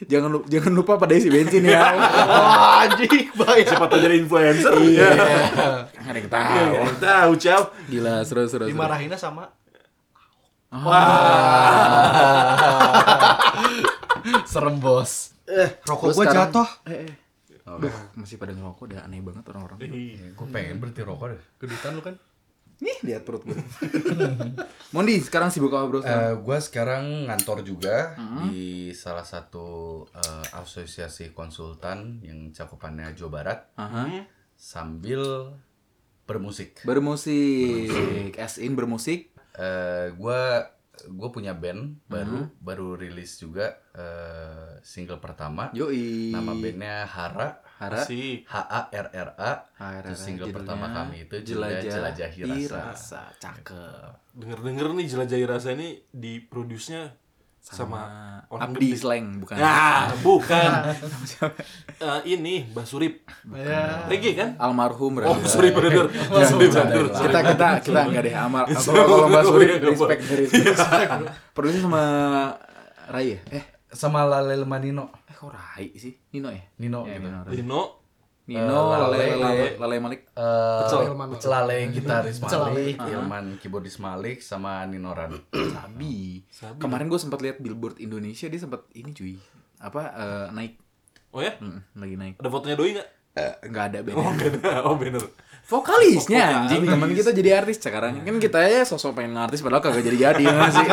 S2: jangan, lupa, jangan lupa pada isi bensin ya.
S3: Wah, anjing baik.
S5: Siapa tahu jadi influencer. Iya.
S2: Nggak ada yang tahu.
S5: Iya, Tahu Ciao.
S2: Gila, seru, seru, seru.
S3: Dimarahinnya sama
S2: Ah.
S3: Wah. Serem bos. Eh, rokok
S2: Terus
S3: gua
S2: sekarang-
S3: jatuh.
S2: Eh, eh. Duh, masih pada ngerokok, udah aneh banget orang-orang.
S6: Gue pengen berhenti rokok deh.
S3: Kedutan lu kan?
S2: Nih, lihat perut gue. Mondi, sekarang sibuk apa bro? sekarang?
S6: gue Eh, sekarang ngantor juga di salah satu eh, asosiasi konsultan yang cakupannya Jawa Barat
S2: Aha.
S6: sambil bermusik.
S2: Bermusik, as in bermusik.
S6: gue gue Eh, punya band baru baru rilis juga eh, single pertama
S2: Yoi.
S6: nama bandnya Hara
S2: Hara.
S5: Sih.
S6: H A R R A
S2: HRR,
S6: Terus single
S2: judulnya
S6: pertama kami itu judulnya Jelajahi Rasa.
S2: Cakep.
S5: Denger-denger nih jelajahi rasa ini di produce-nya sama,
S6: Oh,
S5: orang
S2: Eh, Abdi
S5: Gede.
S2: slang bukan.
S5: Nah,
S6: Ah.
S5: bukan. Eh, ini Mbak Surip.
S3: Iya.
S5: Regi kan?
S2: Almarhum
S5: Oh,
S2: brother.
S5: Surip Brother. Mbak Surip Brother.
S2: kita kita kita enggak deh amal apa kalau Mbak
S6: Iya,
S2: Suri respect respect. Produksi sama Rai ya? Eh,
S6: Sama Lale Manino
S2: eh kok Rai sih? Nino ya?
S6: Nino
S2: Ya,
S6: gitu.
S2: Nino, Rai.
S5: Dino.
S2: Nino
S6: Eh,
S2: Lale,
S6: Lale.
S2: Lale, Lale Malik.
S6: Eh,
S5: Pecel.
S6: Celale gitaris Malik,
S2: Aha.
S6: Ilman keyboardis Malik sama Ninoran.
S2: Sabi. Kemarin gue sempat lihat billboard Indonesia dia sempat ini cuy. Apa eh, naik
S5: Oh ya?
S2: Hmm, lagi naik.
S5: Ada fotonya Doi nggak?
S2: Enggak ada
S5: Oh,
S2: band.
S5: bener. Oh, bener.
S2: Vokalisnya anjing teman kita jadi artis sekarang. Kan kita ya sosok pengen artis padahal kagak jadi-jadi ya nggak sih.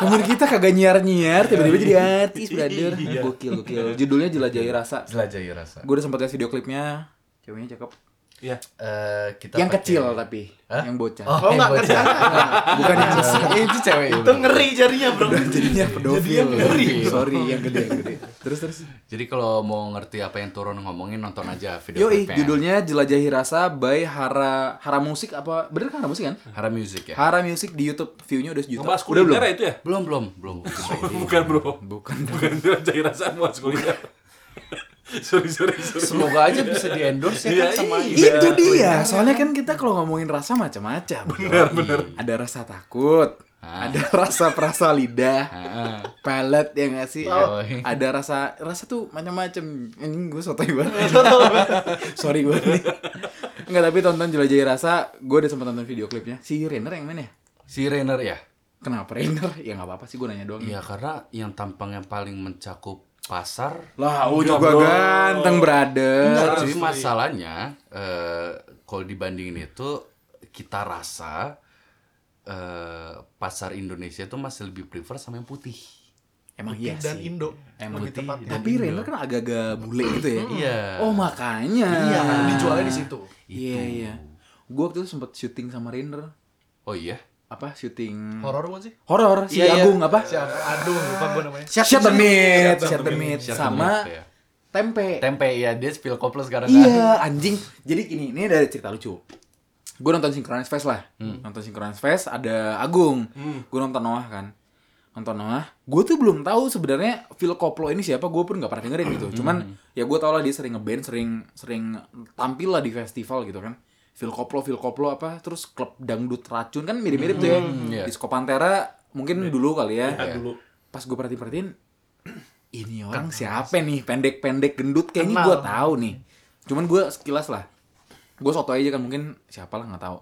S2: temen kita kagak nyiar-nyiar tiba-tiba jadi artis, brother.
S5: Iya.
S2: Gokil, gokil. Judulnya Jelajahi Rasa.
S6: Jelajahi Rasa.
S2: Gue udah sempat lihat video klipnya. Ceweknya cakep.
S5: Iya.
S6: Eh, kita
S2: Yang
S6: pakai-
S2: kecil tapi,
S6: Hah?
S2: yang bocah.
S6: Oh, enggak kecil.
S2: Bukan yang besar. Eh, itu cewek.
S5: Iya.
S3: Itu ngeri jarinya bro.
S2: Jadinya pedofil. Sorry, Sorry, yang gede, yang gede. Terus terus.
S6: Jadi kalau mau ngerti apa yang turun ngomongin nonton aja video
S2: Yoi,
S6: klipnya.
S2: judulnya Jelajahi Rasa by Hara Hara Musik apa? Bener kan Hara Musik kan?
S6: Hara Music ya.
S2: Hara Music di YouTube view-nya udah sejuta.
S5: Ngebahas
S2: Udah belum?
S5: kuliner ya itu ya?
S6: Belum belum belum.
S5: Bukan, bro.
S2: Bukan.
S5: Bukan jelajahi rasa ngebahas kuliner. sorry, sorry, sorry.
S6: Semoga aja bisa di
S5: Iya,
S6: endorse ya kan sama
S5: iya.
S2: Itu dia. Soalnya kan kita kalau ngomongin rasa macam-macam. Bener, bener. Ada rasa takut, ada rasa perasa lidah,
S6: Heeh.
S2: pelet ya nggak sih?
S6: Yoi.
S2: Ada rasa rasa tuh macam-macam. Anjing gue sotoy banget. Sorry gue nih. Enggak tapi tonton jelajahi rasa, gue udah sempat nonton video klipnya. Si Rainer yang mana ya?
S6: Si Rainer ya?
S2: Kenapa Rainer? Ya nggak apa-apa sih gue nanya doang.
S6: Iya karena yang tampangnya paling mencakup pasar
S2: Lah, oh
S5: Enggak,
S2: juga
S5: bro.
S2: ganteng brother.
S6: Tapi masalahnya eh, kalau dibandingin itu kita rasa eh, pasar Indonesia itu masih lebih prefer sama yang putih.
S2: Emang iya
S3: Dan
S2: sih.
S3: Indo.
S2: Emang
S3: lebih
S2: putih.
S3: tepatnya.
S2: Tapi Rainer kan agak-agak bule gitu ya.
S6: Iya.
S2: Oh makanya.
S3: Iya, dijualnya di situ.
S2: Iya iya. Gue waktu itu sempet syuting sama Rainer.
S6: Oh iya.
S2: Apa syuting?
S3: Horor bukan sih?
S2: Horor si
S6: Iya, iya.
S2: Agung apa?
S3: Aduh, lupa gua namanya.
S2: Shut the Meat, Shut the Meat
S6: Shut the
S2: sama
S6: Meat, ya.
S2: tempe.
S4: Tempe ya dia spill koplo sekarang kan.
S2: Iya, anjing. Jadi gini, ini ada cerita lucu. Gue nonton Synchronize Fest lah. Nonton Synchronize Fest ada Agung. Gue nonton Noah kan. Nonton Noah. Gue tuh belum tahu sebenarnya Phil Koplo ini siapa. Gue pun nggak pernah dengerin gitu. Cuman ya gue tau lah dia sering ngeband, sering sering tampil lah di festival gitu kan. Phil Koplo, Phil Koplo apa? Terus klub dangdut racun kan mirip-mirip tuh ya.
S4: iya.
S2: Disco Pantera mungkin dulu kali ya.
S5: Lihat Iya. dulu.
S2: Pas gue perhatiin-perhatiin ini orang siapa nih pendek-pendek gendut kayaknya gue tahu nih cuman gue sekilas lah gue soto aja kan mungkin siapa lah nggak tahu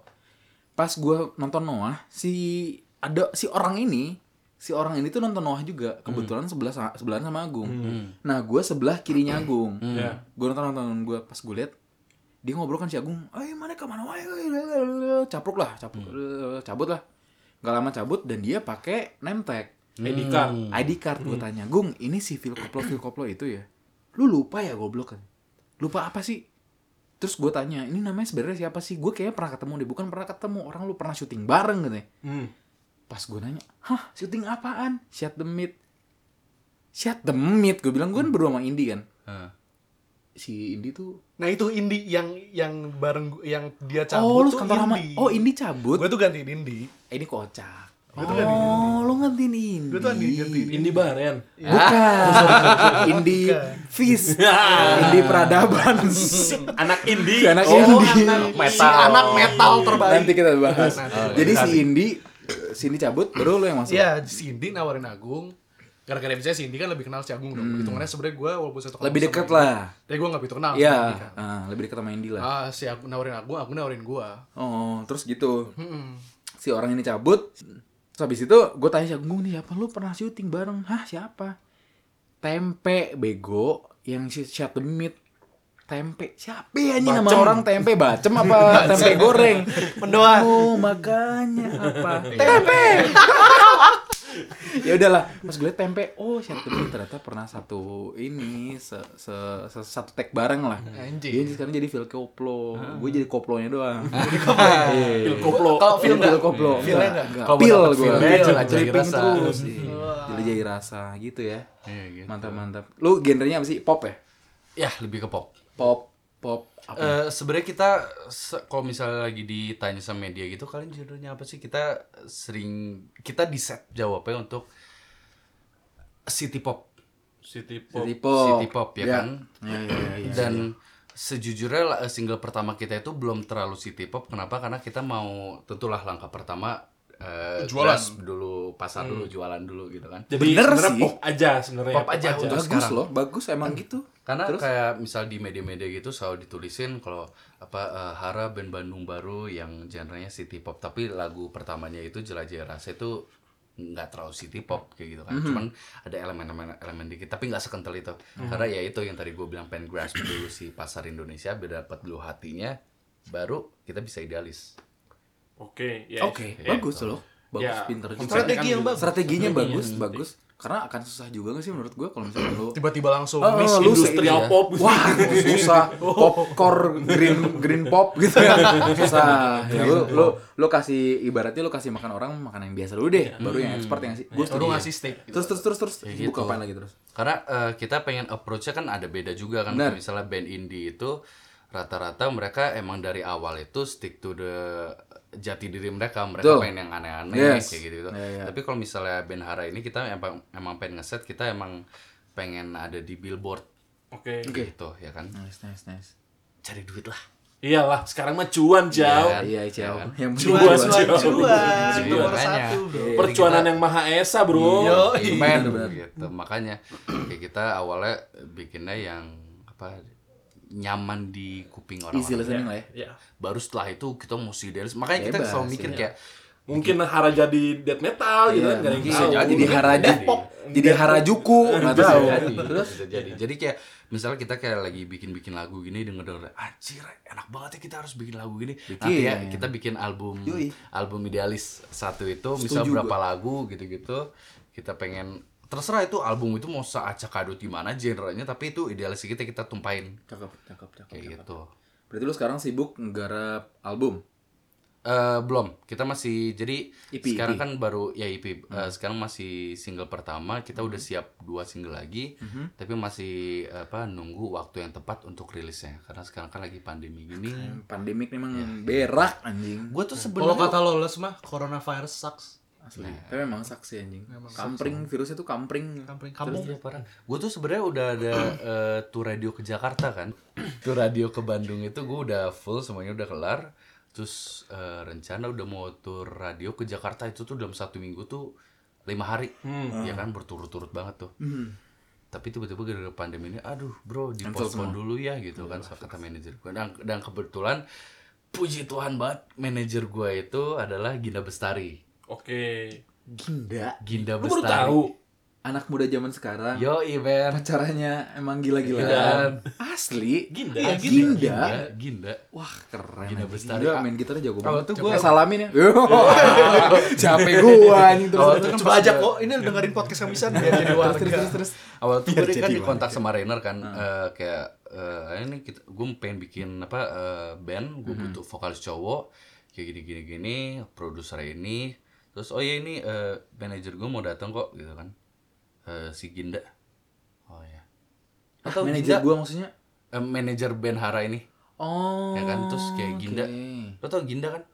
S2: pas gue nonton Noah si ada si orang ini si orang ini tuh nonton Noah juga kebetulan
S5: Hmm.
S2: sebelah sa- sebelahan sama Agung nah gue sebelah kirinya Agung
S5: Ya.
S2: gue nonton nonton gue pas gue liat dia ngobrol kan si Agung eh mana ke mana wae capruk lah capruk eh, cabut lah nggak lama cabut dan dia pakai name tag
S5: ID card. Hmm.
S2: ID card gue tanya Gung ini si Phil Koplo Phil Koplo itu ya lu lupa ya goblok kan lupa apa sih terus gue tanya ini namanya sebenarnya siapa sih gue kayaknya pernah ketemu deh bukan pernah ketemu orang lu pernah syuting bareng katanya
S5: Hmm.
S2: pas gue nanya hah syuting apaan shut the meat shut the meat gue bilang gue kan berdua sama Indi kan
S4: Heeh.
S2: si Indi tuh
S3: Nah itu Indi yang yang bareng gu- yang dia
S2: oh lu
S3: cabut tuh
S2: kantor sama
S3: Indi.
S2: oh Indi cabut
S3: Gue tuh gantiin Indi.
S2: Eh, ini kocak
S3: Gua tuh gantiin
S2: oh lu ngantiin Indi
S3: Gue tuh gantiin, gantiin Indi. Ah.
S5: Ini baren.
S2: Bukan. Indi Fis. Indi Pradaban.
S5: Anak indie.
S2: Si Iya, anak
S4: Oh,
S2: Indi.
S4: anak
S3: Iya, Si anak metal terbaik.
S2: Nanti kita bahas.
S3: Nanti.
S2: Jadi si Indi eh, si Indi cabut baru lu yang masuk.
S3: Iya, si Indi nawarin Agung. Gara-gara misalnya si Indi kan lebih kenal si Agung dong. Hitungannya sebenarnya gue walaupun satu
S2: Hmm. Lebih
S3: dekat
S2: dekat lah.
S3: Tapi gue gak begitu kenal. sama
S2: Iya,
S3: Indi kan.
S2: ah, lebih dekat sama Indi lah.
S3: Ah, si aku nawarin aku, aku nawarin gue.
S2: Oh, terus gitu.
S3: Hmm.
S2: Si orang ini cabut. Terus habis itu gue tanya si Agung nih siapa lu pernah syuting bareng? Hah, siapa? Tempe bego yang si Shut the Meat. Tempe siapa ya ini nama orang tempe bacem apa tempe goreng
S7: Mendoan.
S2: Oh makanya apa? tempe. ya udahlah, pas gue liat tempe, oh siapa tuh ternyata pernah satu ini se, se- se- satu tag bareng lah.
S3: Anjing.
S2: Dia sekarang jadi Phil Koplo, gue jadi koplonya doang. Iya.
S5: Phil koplo.
S4: Kalau
S2: Phil
S4: film
S2: Phil
S4: enggak
S2: Koplo,
S3: Phil
S2: enggak,
S3: enggak?
S2: enggak.
S4: Kalau
S2: Phil
S4: dapat
S2: gue,
S4: Phil,
S2: Phil
S4: jadi
S2: jadi
S4: rasa. gitu.
S2: terus, jadi jadi rasa gitu ya.
S4: Iya, gitu.
S2: Mantap mantap. Lu genrenya apa sih? Pop ya?
S4: Ya, lebih ke pop.
S2: Pop, pop. Apa?
S4: Eh
S6: Iya.
S4: sebenarnya kita se- kalau misalnya lagi ditanya sama media gitu kalian judulnya apa sih kita sering kita di set jawabnya untuk city pop
S5: City pop.
S2: City pop.
S4: City pop, ya kan?
S2: Iya iya iya. iya.
S4: dan sejujurnya la- eh, single pertama kita itu belum terlalu city pop kenapa karena kita mau tentulah langkah pertama eh,
S3: Jualan.
S4: grasp dulu pasar dulu jualan dulu gitu kan
S5: Jadi
S2: Bener
S5: sebenarnya
S2: sih.
S5: pop aja sebenarnya.
S4: Pop aja, untuk
S2: bagus
S4: sekarang.
S2: loh, bagus emang gitu.
S4: Karena kayak misal di media-media gitu selalu ditulisin kalau apa eh, Hara band Bandung baru yang genrenya city pop tapi lagu pertamanya itu Jelajah Rasa itu nggak terlalu city pop kayak gitu kan. Cuman ada elemen-elemen elemen dikit tapi nggak sekental itu. Karena ya itu yang tadi gue bilang pengen grasp dulu si pasar Indonesia biar dapat dulu hatinya baru kita bisa idealis.
S5: Oke,
S4: eh,
S5: ya.
S2: Oke, bagus loh. Bagus
S5: Ya,
S2: pinter juga.
S5: strategi yang bagus.
S2: Strateginya bagus, bagus. Karena akan susah juga gak sih menurut gue kalau misalnya lu
S3: Tiba-tiba langsung
S2: Oh,
S3: miss
S2: lu
S5: Industri
S2: se-
S5: pop.
S2: Wah, susah. Popcorn green green pop gitu kan. Susah. Ya, lu, lu lu kasih ibaratnya lu kasih makan orang makanan yang biasa dulu deh, baru yang expert yang sih. Gue
S3: Baru ngasih steak.
S2: Terus terus terus terus
S4: Kayak gitu.
S2: buka apaan lagi terus.
S4: Karena eh, kita pengen approach-nya kan ada beda juga kan.
S2: Benar.
S4: Misalnya band indie itu rata-rata mereka emang dari awal itu stick to the jati diri mereka. Mereka
S2: Betul.
S4: pengen yang aneh-aneh
S2: Yes.
S4: kayak gitu.
S2: Iya, iya.
S4: Tapi kalau misalnya band Hara ini kita emang emang pengen ngeset kita emang pengen ada di billboard
S5: Oke.
S4: gitu ya kan.
S2: Nice nice nice.
S4: Cari duit lah.
S5: Iyalah, sekarang mah cuan jauh.
S4: Kan,
S2: Iya, Ciao.
S4: kan?
S2: Yang penting
S5: Cuan,
S2: gua-
S5: cuan,
S3: Cuan,
S4: Iya,
S3: nomor
S4: makanya.
S3: satu bro.
S2: Iya.
S5: Percuanan yang maha esa, Bro.
S4: Amen. gitu. Makanya kayak kita awalnya bikinnya yang apa nyaman di kuping orang.
S2: Easy listening lah ya.
S5: Ya.
S4: Baru setelah itu kita mesti idealis. Makanya kita
S2: Bebas,
S4: selalu mikir kayak
S5: Mungkin Hara jadi death metal gitu
S2: Iya,
S5: kan, gak ada yang
S2: mungkin.
S5: tahu.
S4: jadi.
S2: jadi harajuku, jadi harajuku, nggak
S4: bisa
S2: tahu.
S4: jadi, bisa jadi. Jadi kayak misalnya kita kayak lagi bikin-bikin lagu gini denger denger anjir enak banget ya kita harus bikin lagu gini. Nanti ya
S2: Bikin.
S4: kita bikin album
S2: Yoi.
S4: album idealis satu itu misal
S2: Setuju
S4: berapa lagu gitu-gitu kita pengen terserah itu album itu mau seacak kadut gimana genre-nya tapi itu idealis kita kita tumpain
S2: Cakep, cakep, cakep.
S4: kayak gitu.
S2: Berarti lu sekarang sibuk nggarap album?
S4: Eh Eh, belum. Kita masih jadi
S2: EP.
S4: sekarang kan baru ya EP. Eh, sekarang masih single pertama. Kita udah siap dua single lagi. Tapi masih apa nunggu waktu yang tepat untuk rilisnya. Karena sekarang kan lagi pandemi gini.
S2: Pandemik memang berak anjing.
S4: Gue tuh
S3: Kalau
S4: sebenarnya
S3: kata lolos mah coronavirus sucks.
S2: Asli. Nah, Tapi memang saksi anjing. kampring virusnya tuh kampring.
S3: Kampring kampung.
S4: Gue Iya, tuh sebenarnya udah ada eh, tour radio ke Jakarta kan. Tour radio ke Bandung itu gue udah full semuanya udah kelar. Terus eh, rencana udah mau tour radio ke Jakarta itu tuh dalam satu minggu tuh lima hari,
S5: Hmm.
S4: ya kan berturut-turut banget tuh. Tapi tiba-tiba gara-gara pandemi ini, aduh bro, dipospon dulu ya gitu kan kata manajer gue. Dan, dan kebetulan puji Tuhan banget manajer gue itu adalah Ginda Bestari.
S5: Oke.
S2: Ginda. Iya.
S4: Ginda
S5: Lu baru
S4: Bestari.
S5: tahu.
S2: Anak muda zaman sekarang.
S4: Yo, Iber.
S2: Pacarannya emang gila-gilaan. Asli.
S5: Ginda.
S2: Iya,
S5: Ginda.
S2: Ginda.
S4: Ya, Ginda.
S2: Wah keren.
S4: Ginda
S2: anjing.
S4: Bestari.
S2: Ginda main gitarnya jago banget.
S4: tuh
S2: Coba
S4: gua-
S2: salamin ya. Capek gua anjing terus.
S4: Kalau tuh
S2: terus,
S4: kan
S3: Coba
S4: pas
S3: ajak
S4: udah-
S3: kok, ini lu dengerin podcast kami bisa biar jadi warga.
S2: terus, terus, terus.
S4: Awal tuh
S2: Biar
S4: gue kan
S2: jadi
S4: dikontak sama Rainer kan eh, kayak eh, ini kita gue pengen bikin apa eh, band, gue butuh vokalis cowok kayak gini gini gini, produser ini. Terus oh ya ini eh, manajer gue mau datang kok gitu kan. Eh, si Ginda. Oh ya. Atau
S2: Manajer
S4: Ginda,
S2: gua maksudnya.
S4: eh, manajer band Hara ini.
S2: Oh.
S4: ya kan terus kayak Ginda lo tau Ginda kan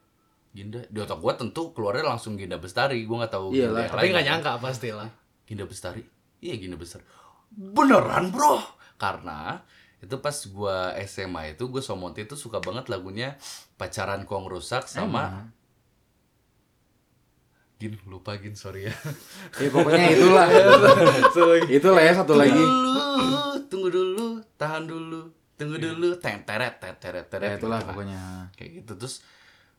S4: Ginda di otak gue tentu keluarnya langsung Ginda Bestari gue nggak tahu
S2: Iya
S4: Ginda
S2: lah,
S4: yang
S3: Tapi
S4: lain
S3: nggak nyangka pastilah.
S4: Ginda Bestari iya Ginda Bestari beneran bro karena itu pas gue SMA itu gue Somonti itu suka banget lagunya pacaran kong rusak sama Gin lupa Gin sorry ya
S2: Ya pokoknya itulah. itulah ya satu lagi.
S4: dulu tunggu dulu tahan dulu tunggu dulu teng teret teret teret teret
S2: Iya. Ya itulah
S4: gitu kan.
S2: pokoknya.
S4: kayak gitu terus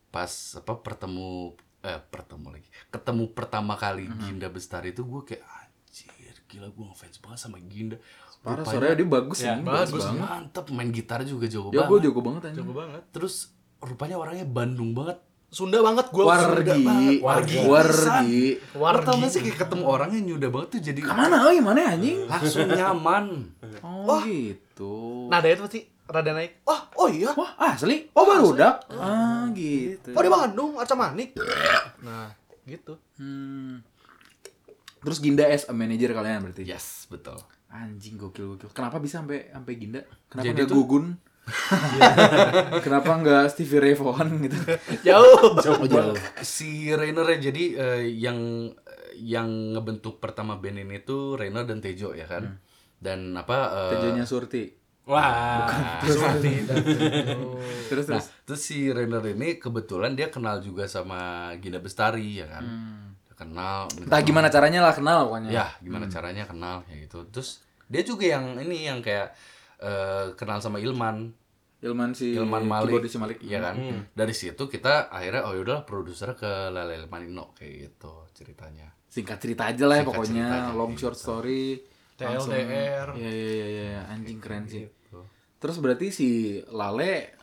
S4: pas apa pertemu eh pertemu lagi ketemu pertama kali Ginda Bestari itu gue kayak anjir gila gue ngefans banget sama Ginda
S2: Parah
S4: Rupanya
S2: suaranya dia bagus
S5: Ya,
S2: anjing,
S3: bagus.
S2: banget.
S4: mantep main gitar juga jago
S2: Ya gua
S4: banget
S2: jago banget anjing.
S3: Jago banget.
S4: terus rupanya orangnya Bandung banget
S3: Sunda banget gua. Sunda
S2: Wargi,
S3: banget.
S2: wargi,
S4: pisan.
S2: wargi.
S4: Wargi.
S3: Wargi.
S4: sih kayak ketemu orangnya nyuda banget tuh jadi
S2: Kemana? Oh, gimana anjing?
S4: langsung nyaman
S2: Oh, gitu.
S3: Nada Nah, itu pasti rada naik. Wah, oh iya.
S2: Wah, asli? Oh, baru udah. Ah, gitu.
S3: Oh di Bandung, Arca Manik. Nah, gitu.
S2: Hmm. Terus Ginda as a manager kalian berarti.
S4: yes betul
S2: Anjing gokil gokil. Kenapa bisa sampai sampai Ginda? Kenapa
S4: Jadi
S2: nggak
S4: tuh-
S2: Gugun? Kenapa nggak Stevie Ray Vaughan gitu?
S3: Jauh.
S2: Oh, jauh.
S4: si Rainer ya jadi eh, yang yang ngebentuk pertama band ini tuh Rainer dan Tejo ya kan dan apa eh,
S2: Tejonya Surti.
S5: Wah.
S2: Terus
S4: nah
S2: terus.
S4: terus si Rainer ini kebetulan dia kenal juga sama Gina Bestari ya kan Dia kenal minta
S2: Entah gimana caranya lah kenal pokoknya.
S4: ya gimana caranya kenal kayak gitu terus dia juga yang ini yang kayak eh, kenal sama Ilman
S2: Ilman si
S4: Ilman Malik,
S2: keyboardis si Malik.
S4: iya kan dari situ kita akhirnya oh yaudahlah produser ke Lele Manino kayak gitu ceritanya
S2: Singkat cerita aja lah ya
S4: Singkat
S2: pokoknya,
S4: cerita aja,
S2: long
S4: gitu.
S2: short story. langsung-
S3: TLDR.
S2: Iya iya iya iya, anjing keren sih.
S4: Gitu.
S2: Terus berarti si Lale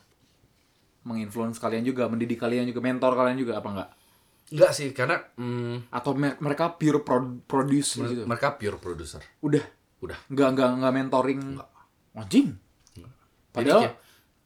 S2: menginfluence kalian juga, mendidik kalian juga, mentor kalian juga apa enggak?
S4: enggak sih karena hmm,
S2: Atau mer- mereka pure pro- produce gitu?
S4: mereka pure produser
S2: Udah,
S4: udah
S2: nggak nggak nggak mentoring. Anjing. Padahal
S4: kayak-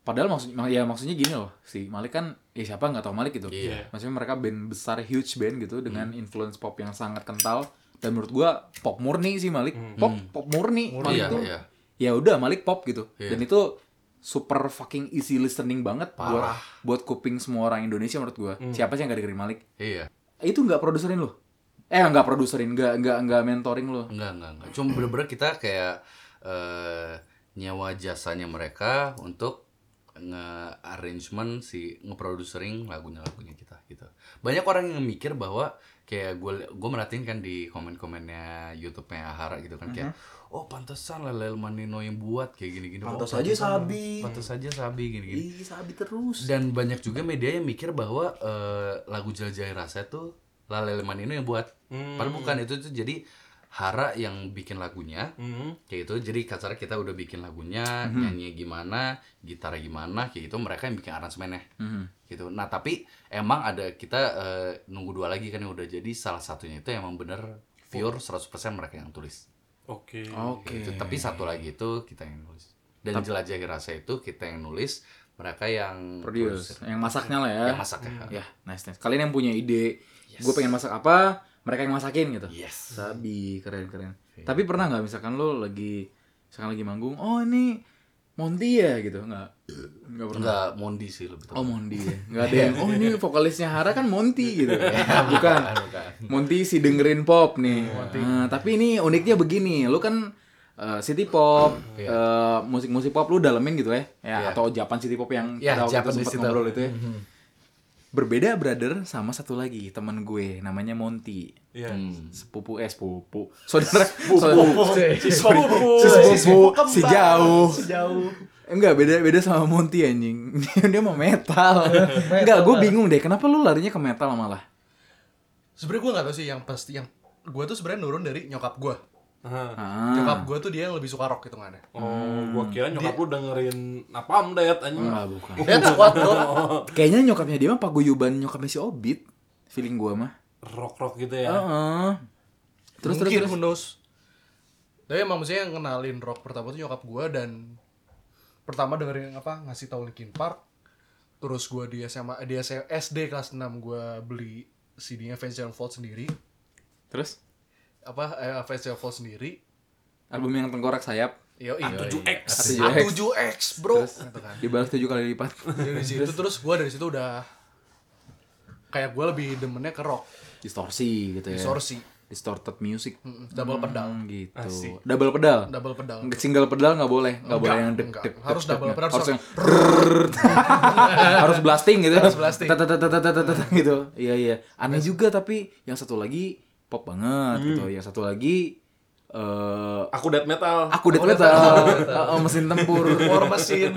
S2: padahal maksudnya ya maksudnya gini loh si Malik kan ya siapa nggak tahu Malik gitu.
S4: Iya. Hmm.
S2: Maksudnya mereka band besar huge band gitu dengan influence pop yang sangat kental dan menurut gua pop murni sih Malik. Pop pop murni. Malik
S4: Hmm. Iya,
S2: tuh,
S4: iya.
S2: Ya udah Malik pop gitu.
S4: Iya.
S2: Dan itu super fucking easy listening banget buat buat kuping semua orang Indonesia menurut gua.
S4: Hmm.
S2: Siapa sih yang gak dengerin Malik?
S4: iya
S2: Itu nggak produserin loh. Eh nggak produserin, nggak nggak nggak mentoring loh.
S4: enggak enggak enggak cuma bener-bener kita kayak eh, nyewa jasanya mereka untuk nge-arrangement si nge-producering lagunya-lagunya kita gitu. Banyak orang yang mikir bahwa kayak gue gue merhatiin kan di komen-komennya YouTube-nya Hara gitu kan kayak oh pantesan Lelel Manino yang buat kayak gini-gini. Oh,
S2: Pantas aja Sabi.
S4: Pantes aja Sabi gini-gini.
S2: Ih, Iya, Sabi terus.
S4: Dan banyak juga media yang mikir bahwa eh, lagu Jelajahi Rasa itu Lale Lemanino yang buat. Padahal bukan itu tuh jadi Hara yang bikin lagunya. Kayak gitu. Jadi kasar kita udah bikin lagunya, nyanyi gimana, gitar gimana, kayak gitu mereka yang bikin aransemennya. Gitu. Nah, tapi emang ada kita eh, nunggu dua lagi kan yang udah jadi salah satunya itu emang bener pure 100% mereka yang tulis.
S5: Oke.
S2: Oke.
S4: Gitu. Tapi satu lagi itu kita yang nulis. Dan jelajahi rasa itu kita yang nulis,
S6: mereka yang
S2: Produce.
S6: produser.
S2: Yang masaknya lah ya.
S6: yang masak ya.
S2: Ya, nice nice. Kalian yang punya ide, gue pengen masak apa, mereka yang masakin gitu.
S6: Yes.
S2: Sabi, keren keren. Tapi pernah nggak misalkan lo lagi misalkan lagi manggung, oh ini Monty ya gitu, nggak? Nggak pernah.
S6: Enggak Mondi sih lebih
S2: Oh Monty ya. Nggak ada yang, oh ini vokalisnya Hara kan Monty gitu. Bukan. Monty si dengerin pop nih. Ah, tapi ini uniknya begini, lu kan eh, city pop, eh, musik-musik pop lu dalemin gitu ya, ya atau Japan city Iya, pop yang
S6: Ya,
S2: kita waktu
S6: Japanese
S2: itu sempat
S6: itu.
S2: ngobrol itu ya. Berbeda brother sama satu lagi temen gue namanya Monty.
S5: Iya.
S2: Sepupu eh sepupu. Saudara saudara-
S5: Sepupu.
S2: sepupu si
S4: kembar.
S2: jauh.
S4: Sejauh.
S2: Enggak beda beda sama Monty anjing. Dia mau metal. Enggak, gue bingung deh kenapa lu larinya ke metal malah.
S3: Sebenarnya gue nggak tahu sih yang pasti yang gue tuh sebenarnya nurun dari nyokap gue.
S5: Aha.
S2: Ah.
S3: Nyokap gue tuh dia yang lebih suka rock hitungannya.
S5: Oh, gua kira nyokap lu dengerin Napalm Death anjing.
S2: Enggak, bukan.
S3: Dia tuh kuat bro.
S2: Kayaknya nyokapnya dia mah paguyuban nyokapnya si Obit. Feeling gua mah.
S5: Rock-rock gitu ya.
S2: Heeh. Terus terus
S3: Mungkin,
S2: terus.
S3: who knows. Tapi emang maksudnya yang kenalin rock pertama tuh nyokap gue dan pertama dengerin apa ngasih tahu Linkin Park. Terus gue di SMA di SMA SD kelas 6 gue beli CD-nya Avenged Sevenfold sendiri.
S2: Terus
S3: Apa eh, Avenged Sevenfold sendiri.
S2: album yang tengkorak sayap
S3: Yo, iya.
S5: A7X.
S2: A7X.
S3: A7X, bro. Gitu kan.
S2: dibalik tujuh kali lipat.
S3: Dari situ terus gue dari situ udah kayak gue lebih demennya ke rock,
S2: Distorsi gitu ya.
S3: distorsi,
S2: Distorted music.
S3: Mm, double pedal,
S2: Hmm, gitu.
S5: Asik.
S2: Double pedal.
S3: double pedal.
S2: Nggak, Single pedal nggak boleh, nggak boleh yang deg
S3: enggak.
S2: deg.
S3: Harus
S2: deg-
S3: double
S2: deg-
S3: pedal,
S2: harus
S3: harus
S2: yang harus blasting gitu.
S3: Harus blasting.
S2: Tat, tat, tat, tat, tat, tat, tat, gitu. Iya iya. Aneh juga tapi yang satu lagi pop banget gitu. Yang satu lagi eh
S5: Aku death metal.
S2: aku death metal, Eh, mesin tempur.
S3: War mesin.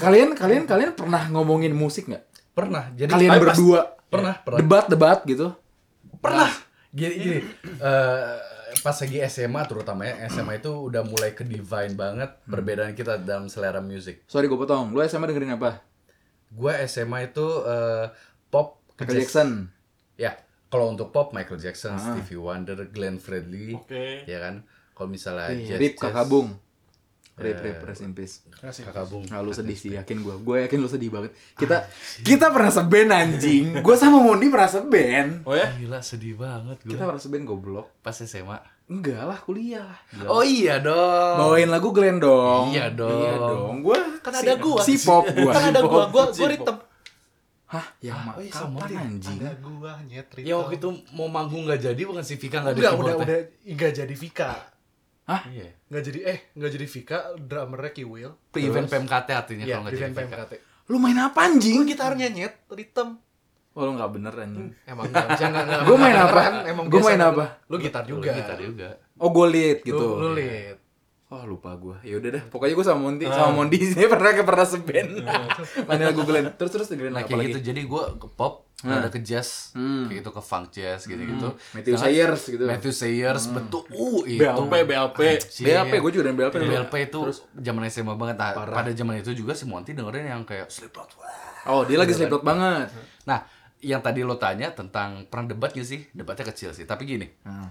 S2: kalian kalian kalian pernah ngomongin musik nggak?
S4: Pernah. Jadi
S2: Kalian
S5: tapi pas-
S2: berdua
S4: pernah, pernah.
S2: debat debat gitu.
S4: pernah.
S6: Gini gini. eh, pas lagi SMA terutama ya SMA itu udah mulai ke divine banget perbedaan kita dalam selera musik.
S2: Sorry gue potong. Lu SMA dengerin apa?
S6: Gua SMA itu eh, pop ke
S2: Michael Jackson. Ah.
S6: Ya, kalau untuk pop Michael Jackson, Stevie Wonder, Glenn Fredly,
S5: Oke.
S6: ya kan. Kalau misalnya jazz,
S2: Rip
S6: jazz,
S2: kakak Bung. Rip rip rest in peace.
S6: Kakak Bung.
S2: Nah, lu sedih sih, yakin gue. Gue yakin lu sedih banget. Kita kita pernah seben anjing. Gue sama Mondi pernah seben.
S5: Oh ya?
S6: Gila sedih banget gue.
S2: Kita pernah seben goblok.
S6: Pas SMA.
S2: Enggak lah, kuliah lah.
S6: Oh iya dong.
S2: Bawain lagu Glenn dong.
S6: Iya dong.
S2: Iya dong. Gue
S4: Kan ada gua.
S2: Si pop gue.
S4: Kan ada gua, gua gua ritem.
S2: Hah? Ya mak. Kapan anjing?
S3: Ada gua nyetri.
S6: Ya waktu itu mau manggung nggak jadi bukan kan si Vika nggak ada
S3: udah udah
S6: keyboardnya.
S3: udah enggak jadi Vika.
S6: Iya.
S3: Enggak jadi eh enggak jadi Vika, drummernya Kiwil.
S6: Pre-event PMKT artinya
S3: Iya,
S6: kalau nggak
S3: di
S6: jadi
S3: band
S6: Vika.
S3: PMKT.
S2: Lu main apa anjing?
S3: Gua gitarnya nyet, ritem.
S2: Oh, lu gak bener anjing.
S3: Emang enggak bisa enggak.
S2: Gua main apa?
S3: Emang
S2: Gua
S3: biasa.
S2: main apa?
S3: Lu gitar
S6: Lu
S3: juga.
S6: gitar juga.
S2: Oh, gue lead gitu.
S3: Lu, lu lead.
S2: Oh lupa gue, yaudah dah. Pokoknya gue sama Mondi, sama Mondi sini pernah ke pernah seben. Main lagu Glenn. Terus terus dengerin
S6: Nah
S2: apa
S6: kayak
S2: lagi?
S6: gitu jadi gue ke pop
S2: Ah.
S6: ada ke jazz
S2: Hmm.
S6: kayak gitu ke funk jazz gitu gitu
S2: Matthew Sayers gitu.
S6: Matthew Sayers betul uh Iya. itu
S5: BLP, BLP.
S6: Anjir.
S2: BLP, gue juga dan BLP. dulu.
S6: BLP itu zaman SMA banget nah, pada zaman itu juga si Monty dengerin yang kayak Slipknot wah.
S2: Oh, dia lagi slipknot banget.
S6: nah yang tadi lo tanya tentang perang debat gak sih debatnya kecil sih tapi gini
S2: Ah.